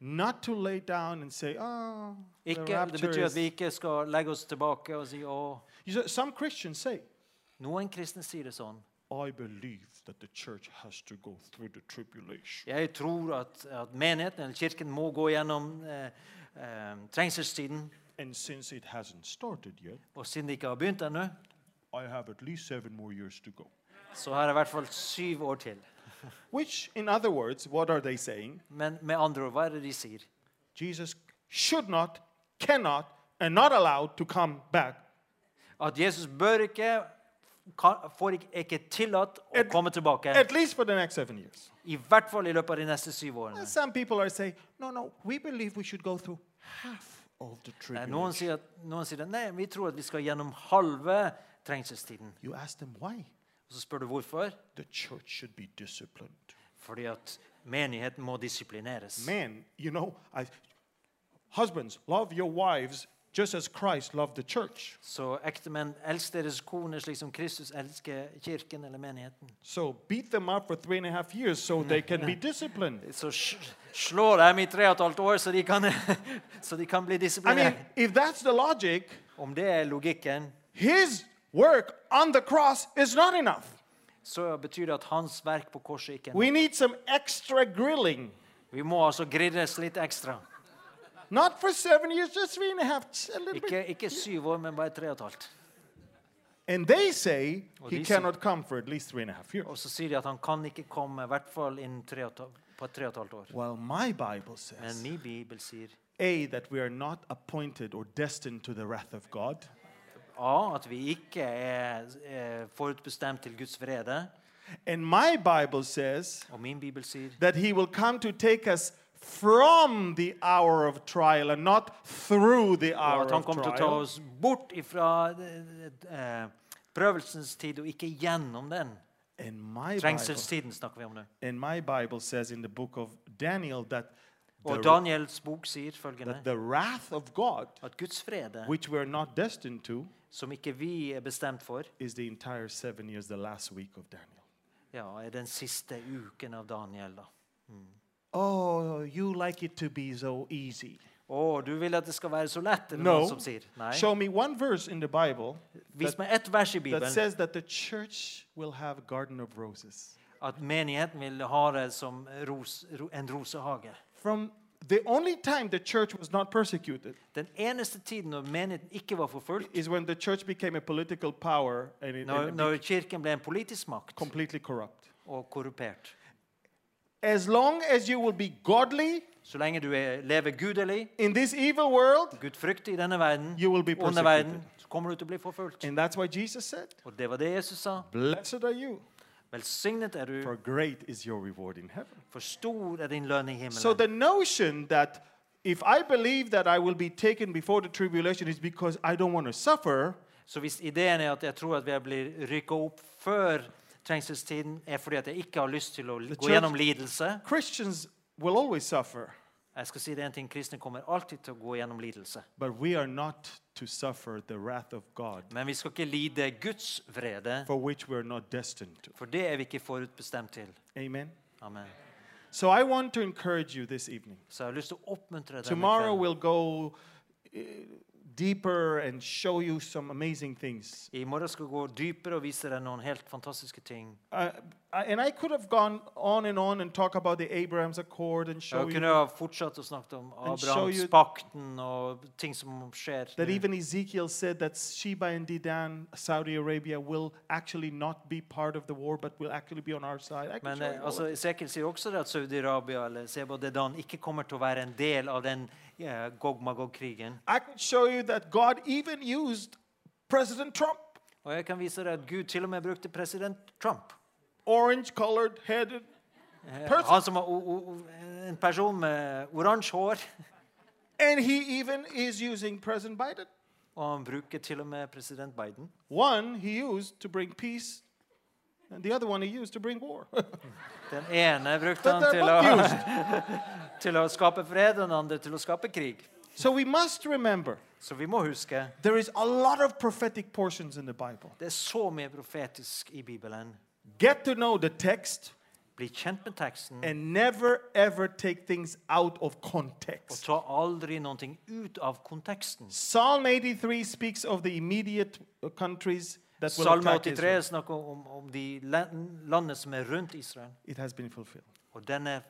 A: not to lay down and say, oh, the
B: Ikke, det
A: rapture
B: betyr at
A: is...
B: vi ikke skal legge oss tilbake og si å,
A: You see, Some Christians say,
B: Noen kristne sier det sånn.
A: I believe that the church has to go through the tribulation.
B: Jeg tror at, at menigheten eller kirken må gå gjennom eh, eh, trengselstiden.
A: And since it hasn't started yet,
B: Og siden det ikke har begynt ennå,
A: I have at least seven more years to go.
B: så har jeg i hvert fall syv år til.
A: Which, in other words, what are they saying?
B: Men med andre ord, hva er det de sier?
A: Jesus should not, cannot, and not allowed to come back
B: At Jesus bør ikke kan, får ikke, er ikke tillatt å
A: Et-
B: komme tilbake.
A: at least for the next seven years.
B: I hvert fall i løpet av de neste syv årene.
A: Some people are saying, no, no, we believe we should go through half of the
B: Nei,
A: tribulation.
B: Eh, Noen sier, at, noen sier at nei, vi tror at vi skal gjennom halve trengselstiden.
A: You ask them why?
B: Og så spør du hvorfor.
A: The church should be disciplined.
B: Fordi at menigheten må disiplineres.
A: Man, you know, I, husbands, love your wives just as Christ loved the church.
B: Så ektemenn, elsk deres koner slik som Kristus elsker kirken eller menigheten.
A: So beat them up for three and a half years so they can be disciplined.
B: Så sl- slå dem i tre og et halvt år, så de kan, så de kan bli
A: I mean,
B: disiplinert.
A: if that's the logic,
B: Om det er logikken,
A: his work on the cross is not enough.
B: så betyr det at hans verk på korset ikke er nok.
A: We need some extra grilling.
B: Vi må altså grilles litt ekstra.
A: Not for seven years, just three and a half, just a little bit.
B: Ikke, ikke syv år, men bare tre og et halvt.
A: And they say
B: Well,
A: he
B: they say-
A: cannot come for at least three and a half years.
B: Og så sier de at han kan ikke komme, i hvert fall innen tre og et halvt- på tre og et halvt år.
A: Well, my Bible
B: Men
A: says
B: min bibel sier
A: A, that we are not appointed or destined to the wrath of God,
B: A, at vi ikke er, er forutbestemt til Guds vrede.
A: and my Bible says
B: Og min bibel sier
A: that he will come to take us from the hour of trial and not through the
B: og
A: hour
B: at han
A: of
B: kommer til å ta
A: trial.
B: oss bort ifra eh, eh, prøvelsens tid og ikke gjennom den.
A: And my Bible,
B: Trengselstiden snakker vi om nå.
A: and my Bible says in the book of Daniel that
B: Og
A: the,
B: Daniels bok sier
A: that
B: følgende
A: the wrath of God,
B: at Guds frede,
A: which we're not destined to,
B: som ikke vi er bestemt for,
A: is the entire seven years, the last week of Daniel.
B: ja, er den siste uken av Daniel. da.
A: Oh, you like it to be so easy.
B: Å, du vil at det skal være så lett? Er det
A: No.
B: noen som sier? Nei.
A: Show me one verse in the Bible
B: Vis meg ett vers i
A: that
B: Bibelen
A: says that the church will have a garden of roses.
B: at menigheten vil ha det som ros, ro, en rosehage.
A: From the only time the church was not persecuted
B: Den eneste tiden når menigheten ikke var forfulgt,
A: is when the church became a political power and it, and
B: når,
A: it
B: når kirken ble en politisk makt
A: became completely corrupt.
B: og korrumpert.
A: As long as you will be godly
B: Så lenge du er, lever gudelig,
A: in this evil world,
B: gudfryktig i denne verden,
A: You will be
B: onde verden,
A: persecuted.
B: så kommer du til å bli forfulgt.
A: and that's why Jesus said,
B: Og det var det Jesus sa.
A: Blessed are you,
B: Velsignet er du,
A: for great is your reward in heaven.
B: for stor er din lønn i
A: So
B: himmelen.
A: the notion that if I believe that I will be taken before the tribulation is because I don't want to suffer,
B: Så hvis ideen er at jeg tror at jeg blir rykka opp før trengselstiden, er fordi at jeg ikke har lyst til å
A: The
B: gå
A: church-
B: gjennom lidelse
A: Christians will always suffer,
B: Jeg skal si det en ting, Kristne kommer alltid til å gå gjennom lidelse.
A: but we are not to suffer the wrath of God
B: Men vi skal ikke lide Guds vrede,
A: for which we are not destined to.
B: for det er vi ikke forutbestemt til.
A: Amen.
B: Amen.
A: So I want to encourage you this evening.
B: Så jeg har lyst til å oppmuntre deg.
A: Tomorrow we'll go uh, deeper and show you some amazing things.
B: I morgen skal vi gå dypere og vise deg noen helt fantastiske ting.
A: Uh, I- and I could have gone on and on and talk about the Abraham's Accord and show
B: Jeg
A: you
B: kunne ha fortsatt å snakke om
A: And show you-
B: Abrahamspakten og ting som skjer.
A: that
B: nå.
A: even Ezekiel said that Sheba and Dedan, Saudi Arabia, will actually not be part of the war, but will actually be on our side. I can
B: Men
A: show you
B: eh,
A: all of
B: altså,
A: it.
B: Esekiel sier også det at Saudi-Arabia eller Seba Dedan ikke kommer til å være en del av den eh, Gog-Magog-krigen.
A: I could show you that God even used President Trump,
B: Og jeg kan vise deg at Gud til og med brukte president Trump.
A: orange-colored headed.
B: Eh,
A: Person.
B: Han som var o- o- o- en person med oransje hår.
A: And he even is using President Biden.
B: Og han bruker til og med president Biden.
A: One he used to bring peace, and the other one he used to bring war.
B: Den ene brukte
A: but
B: han
A: they're
B: til
A: both
B: å,
A: used.
B: til å skape fred, og den andre til å skape krig.
A: So we must remember
B: Så vi må huske
A: there is a lot of prophetic portions in the Bible.
B: det er så mye profetisk i Bibelen.
A: Get to know the text.
B: Bli kjent med teksten,
A: and never ever take things out of
B: og
A: context.
B: ta aldri noe ut av konteksten.
A: Psalm 83 speaks of the immediate uh, countries that will
B: Salme
A: attack
B: 83
A: Israel.
B: snakker om, om de lan- landene som er rundt Israel,
A: It has been fulfilled.
B: og den er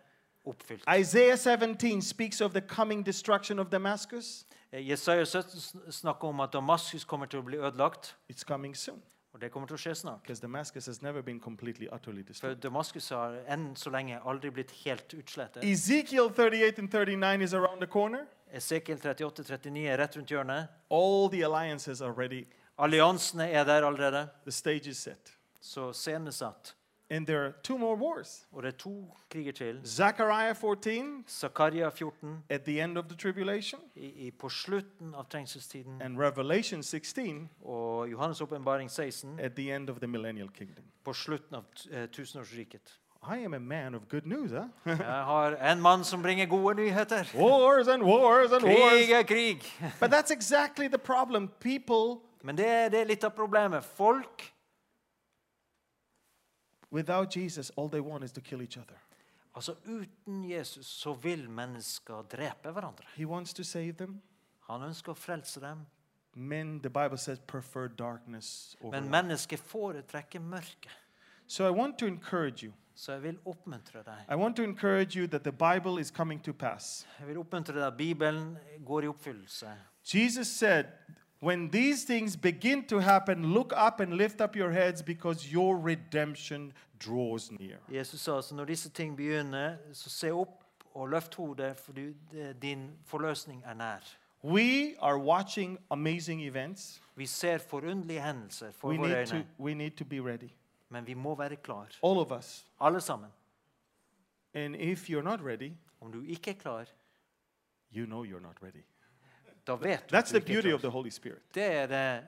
B: oppfylt.
A: Isaiah 17 speaks of the coming destruction of Damascus.
B: Eh, Jesaja 17 sn- snakker om at Damaskus kommer til å bli ødelagt,
A: It's coming soon
B: og det kommer til å skje snart.
A: because Damascus has never been completely, utterly
B: For
A: destroyed.
B: Damaskus har enn så lenge aldri blitt helt utslettet.
A: Ezekiel 38 and 39 is around the corner.
B: Esekiel 38-39 er rett rundt hjørnet.
A: All the alliances are ready,
B: Alliansene er der allerede,
A: the stage is set.
B: så scenen er satt.
A: And there are two more wars
B: Og det er to kriger til.
A: Zechariah 14
B: Zakaria 14
A: at the end of the tribulation,
B: i, i, på slutten av trengselstiden
A: and Revelation 16
B: og Johannes' åpenbaring 16
A: at the end of the millennial kingdom.
B: på slutten av t- eh, tusenårsriket.
A: I am a man of good news, huh?
B: Jeg har en mann som bringer gode nyheter.
A: wars and wars and
B: Krig
A: wars.
B: er krig.
A: But that's exactly the problem. People
B: Men det, er- det er litt av problemet. Folk
A: without Jesus, all they want is to kill each other.
B: altså Uten Jesus så vil mennesker drepe hverandre.
A: He wants to save them.
B: Han ønsker å frelse dem.
A: Men, the Bible says, prefer darkness over
B: Men
A: light.
B: mennesket foretrekker mørket.
A: So I want to encourage you.
B: Så jeg vil oppmuntre deg.
A: I want to encourage you that the Bible is coming to pass.
B: Jeg vil oppmuntre deg at Bibelen går i oppfyllelse.
A: Jesus said, When these things begin to happen, look up and lift up your heads because your redemption draws near.
B: Jesus sa altså når disse ting begynner, så se opp og løft hodet, for du, det- din forløsning er nær.
A: We are watching amazing events.
B: Vi ser forunderlige hendelser for
A: We
B: våre
A: need, to,
B: øyne,
A: we need to be ready,
B: men vi må være klar,
A: all of us.
B: alle sammen.
A: And if you're not ready,
B: Om du ikke er klar,
A: you know you're not ready.
B: da vet du
A: That's
B: at du
A: the
B: ikke
A: beauty
B: er
A: of
B: klar.
A: the Holy Spirit.
B: Det er det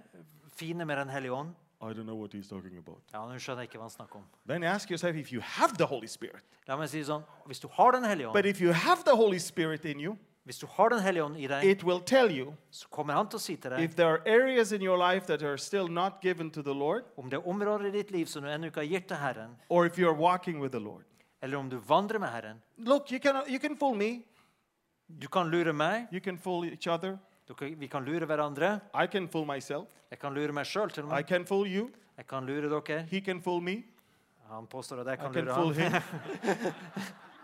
B: fine med Den hellige ånd.
A: I don't know what he's talking about.
B: Ja, Nå skjønner jeg ikke hva han snakker om.
A: Then ask yourself if you have the Holy Spirit.
B: La meg si det sånn, Hvis du har Den hellige
A: But
B: ånd,
A: if you have the Holy Spirit in you,
B: hvis du har den hellige ånd i deg,
A: it will tell you
B: så kommer han til å si til deg
A: if there are areas in your life that are still not given to the Lord,
B: om det er områder i ditt liv som du ennå ikke har gitt til Herren,
A: or if you're walking with the Lord.
B: eller om du vandrer med Herren.
A: Look, you can, you can fool me.
B: Du kan lure meg,
A: You can fool each other.
B: du kan, vi kan lure hverandre.
A: I can fool myself.
B: Jeg kan lure meg sjøl til og
A: I
B: med.
A: can fool you.
B: Jeg kan lure dere.
A: He can fool me.
B: Han påstår at jeg
A: I
B: kan
A: can
B: lure
A: fool
B: ham.
A: him.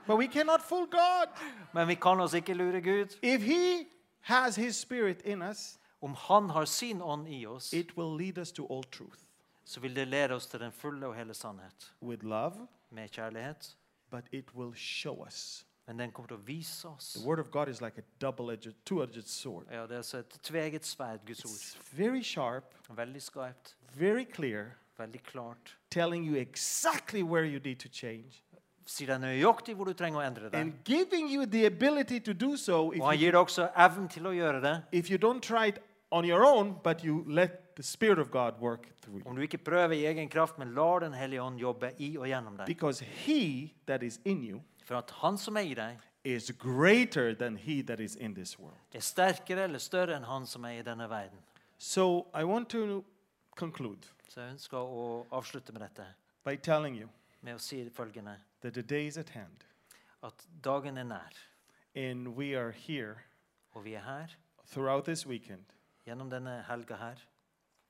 A: but we cannot fool God.
B: Men vi kan altså ikke lure Gud.
A: If He has His Spirit in us,
B: Om Han har sin ånd i oss,
A: it will lead us to all truth
B: så vil det lede oss til den fulle og hele sannhet.
A: with love,
B: Med kjærlighet.
A: but it will show us.
B: Men den kommer til å vise oss.
A: The Word of God is like a double edged, two edged sword.
B: Ja, Det er altså et tveget sverd, Guds ord.
A: It's very sharp,
B: Veldig skarpt,
A: very clear,
B: veldig klart.
A: telling you exactly where you need to change.
B: Sier deg nøyaktig hvor du trenger å endre deg.
A: and giving you the ability to do so if
B: Og han
A: you,
B: gir deg også evnen til å gjøre det.
A: if you don't try it on your own, but you let the Spirit of God work through you.
B: Om du ikke prøver i egen kraft, men lar Den hellige ånd jobbe i og gjennom deg.
A: Because He that is in you
B: For at Han som er i deg,
A: is greater than He that is in this world.
B: er sterkere eller større enn Han som er i denne verden.
A: So I want to conclude
B: Så jeg ønsker å avslutte med dette,
A: by telling you
B: med å si følgende
A: that the day is at hand
B: at dagen er nær,
A: and we are here
B: og vi er her
A: throughout this weekend,
B: gjennom denne helga her.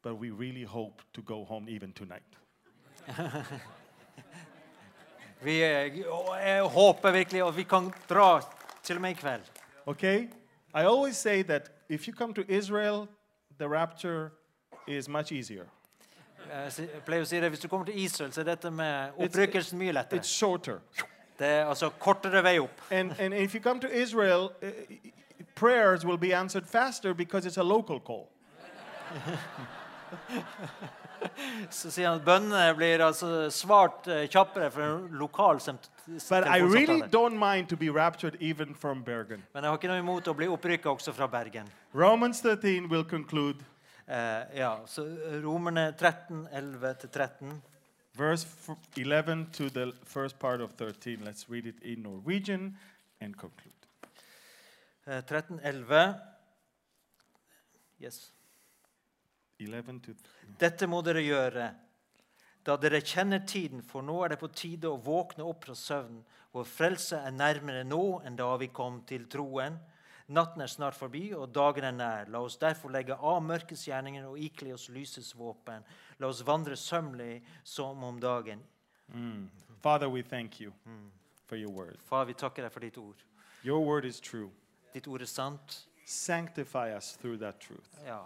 A: but we really hope to go home even tonight.
B: Vi eh, og jeg håper virkelig at vi kan dra til og med i kveld.
A: Okay? I always say that if you come to Israel, the rapture is much easier.
B: Jeg si- jeg pleier å si det, Hvis du kommer til Israel, så er dette med opprykkelsen mye
A: It's
B: lettere.
A: shorter.
B: Det er altså kortere vei opp.
A: And, and if you come to Israel, uh, prayers will be answered faster because it's a local call.
B: Så sier han at bønnene blir altså svart eh, kjappere fra en lokal semt-
A: But I really
B: telefonsamtale.
A: don't mind to be raptured even from Bergen.
B: Men jeg har ikke noe imot å bli opprykka også fra Bergen.
A: Romans 13 will conclude
B: Eh, ja, så Romerne 13, 11-13.
A: verse f- 11 to the first part of 13. Let's read it in Norwegian and conclude.
B: Eh, 13.11. Yes.
A: 11 to. th-
B: Dette må dere gjøre da dere kjenner tiden, for nå er det på tide å våkne opp fra søvnen. Vår frelse er nærmere nå enn da vi kom til troen. Natten er snart forbi, og dagen er nær. La oss derfor legge av mørkets gjerninger og ikle oss lysets våpen. La oss vandre sømmelig som om dagen.
A: mm. Father, we thank you for your word.
B: Far, vi takker deg for ditt ord.
A: Your word is true.
B: Ditt ord er sant.
A: Sanctify us through that truth.
B: Ja.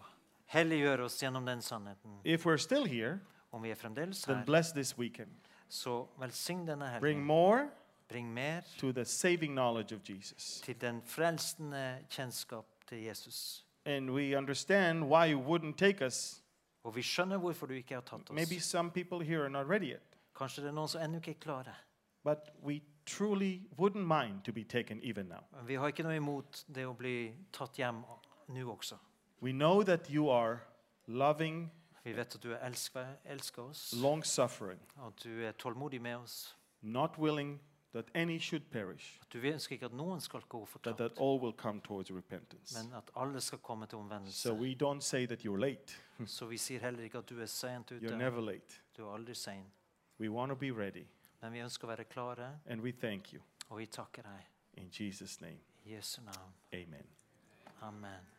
B: Helliggjør oss gjennom den sannheten.
A: If we're still here,
B: Om vi er fremdeles
A: then
B: her,
A: bless this weekend.
B: så velsign denne
A: Bring
B: helgen.
A: more
B: Bring mer.
A: to the saving knowledge of Jesus.
B: til den frelsende kjennskap til Jesus.
A: And we understand why you wouldn't take us.
B: Og vi skjønner hvorfor du ikke har tatt
A: Maybe
B: oss.
A: some people here are not ready yet,
B: Kanskje det er noen som ennå ikke er klare.
A: but we truly wouldn't mind to be taken even now.
B: Men vi har ikke noe imot det å bli tatt hjem nå også.
A: We know that you are loving,
B: Vi vet at du elsker, elsker oss,
A: long suffering,
B: og at du er tålmodig med oss.
A: not willing that any should perish,
B: At du ønsker ikke at noen skal gå
A: but that
B: fortapt,
A: all will come towards repentance.
B: men at alle skal komme til
A: So
B: omvendelse.
A: we don't say that you're late.
B: Så vi sier heller ikke at du er sent
A: You're
B: ute.
A: never late.
B: Du er aldri sen.
A: We want to be ready,
B: Men vi ønsker å være klare,
A: and we thank you.
B: og vi takker deg.
A: In Jesus' name,
B: I Jesu navn.
A: amen.
B: Amen.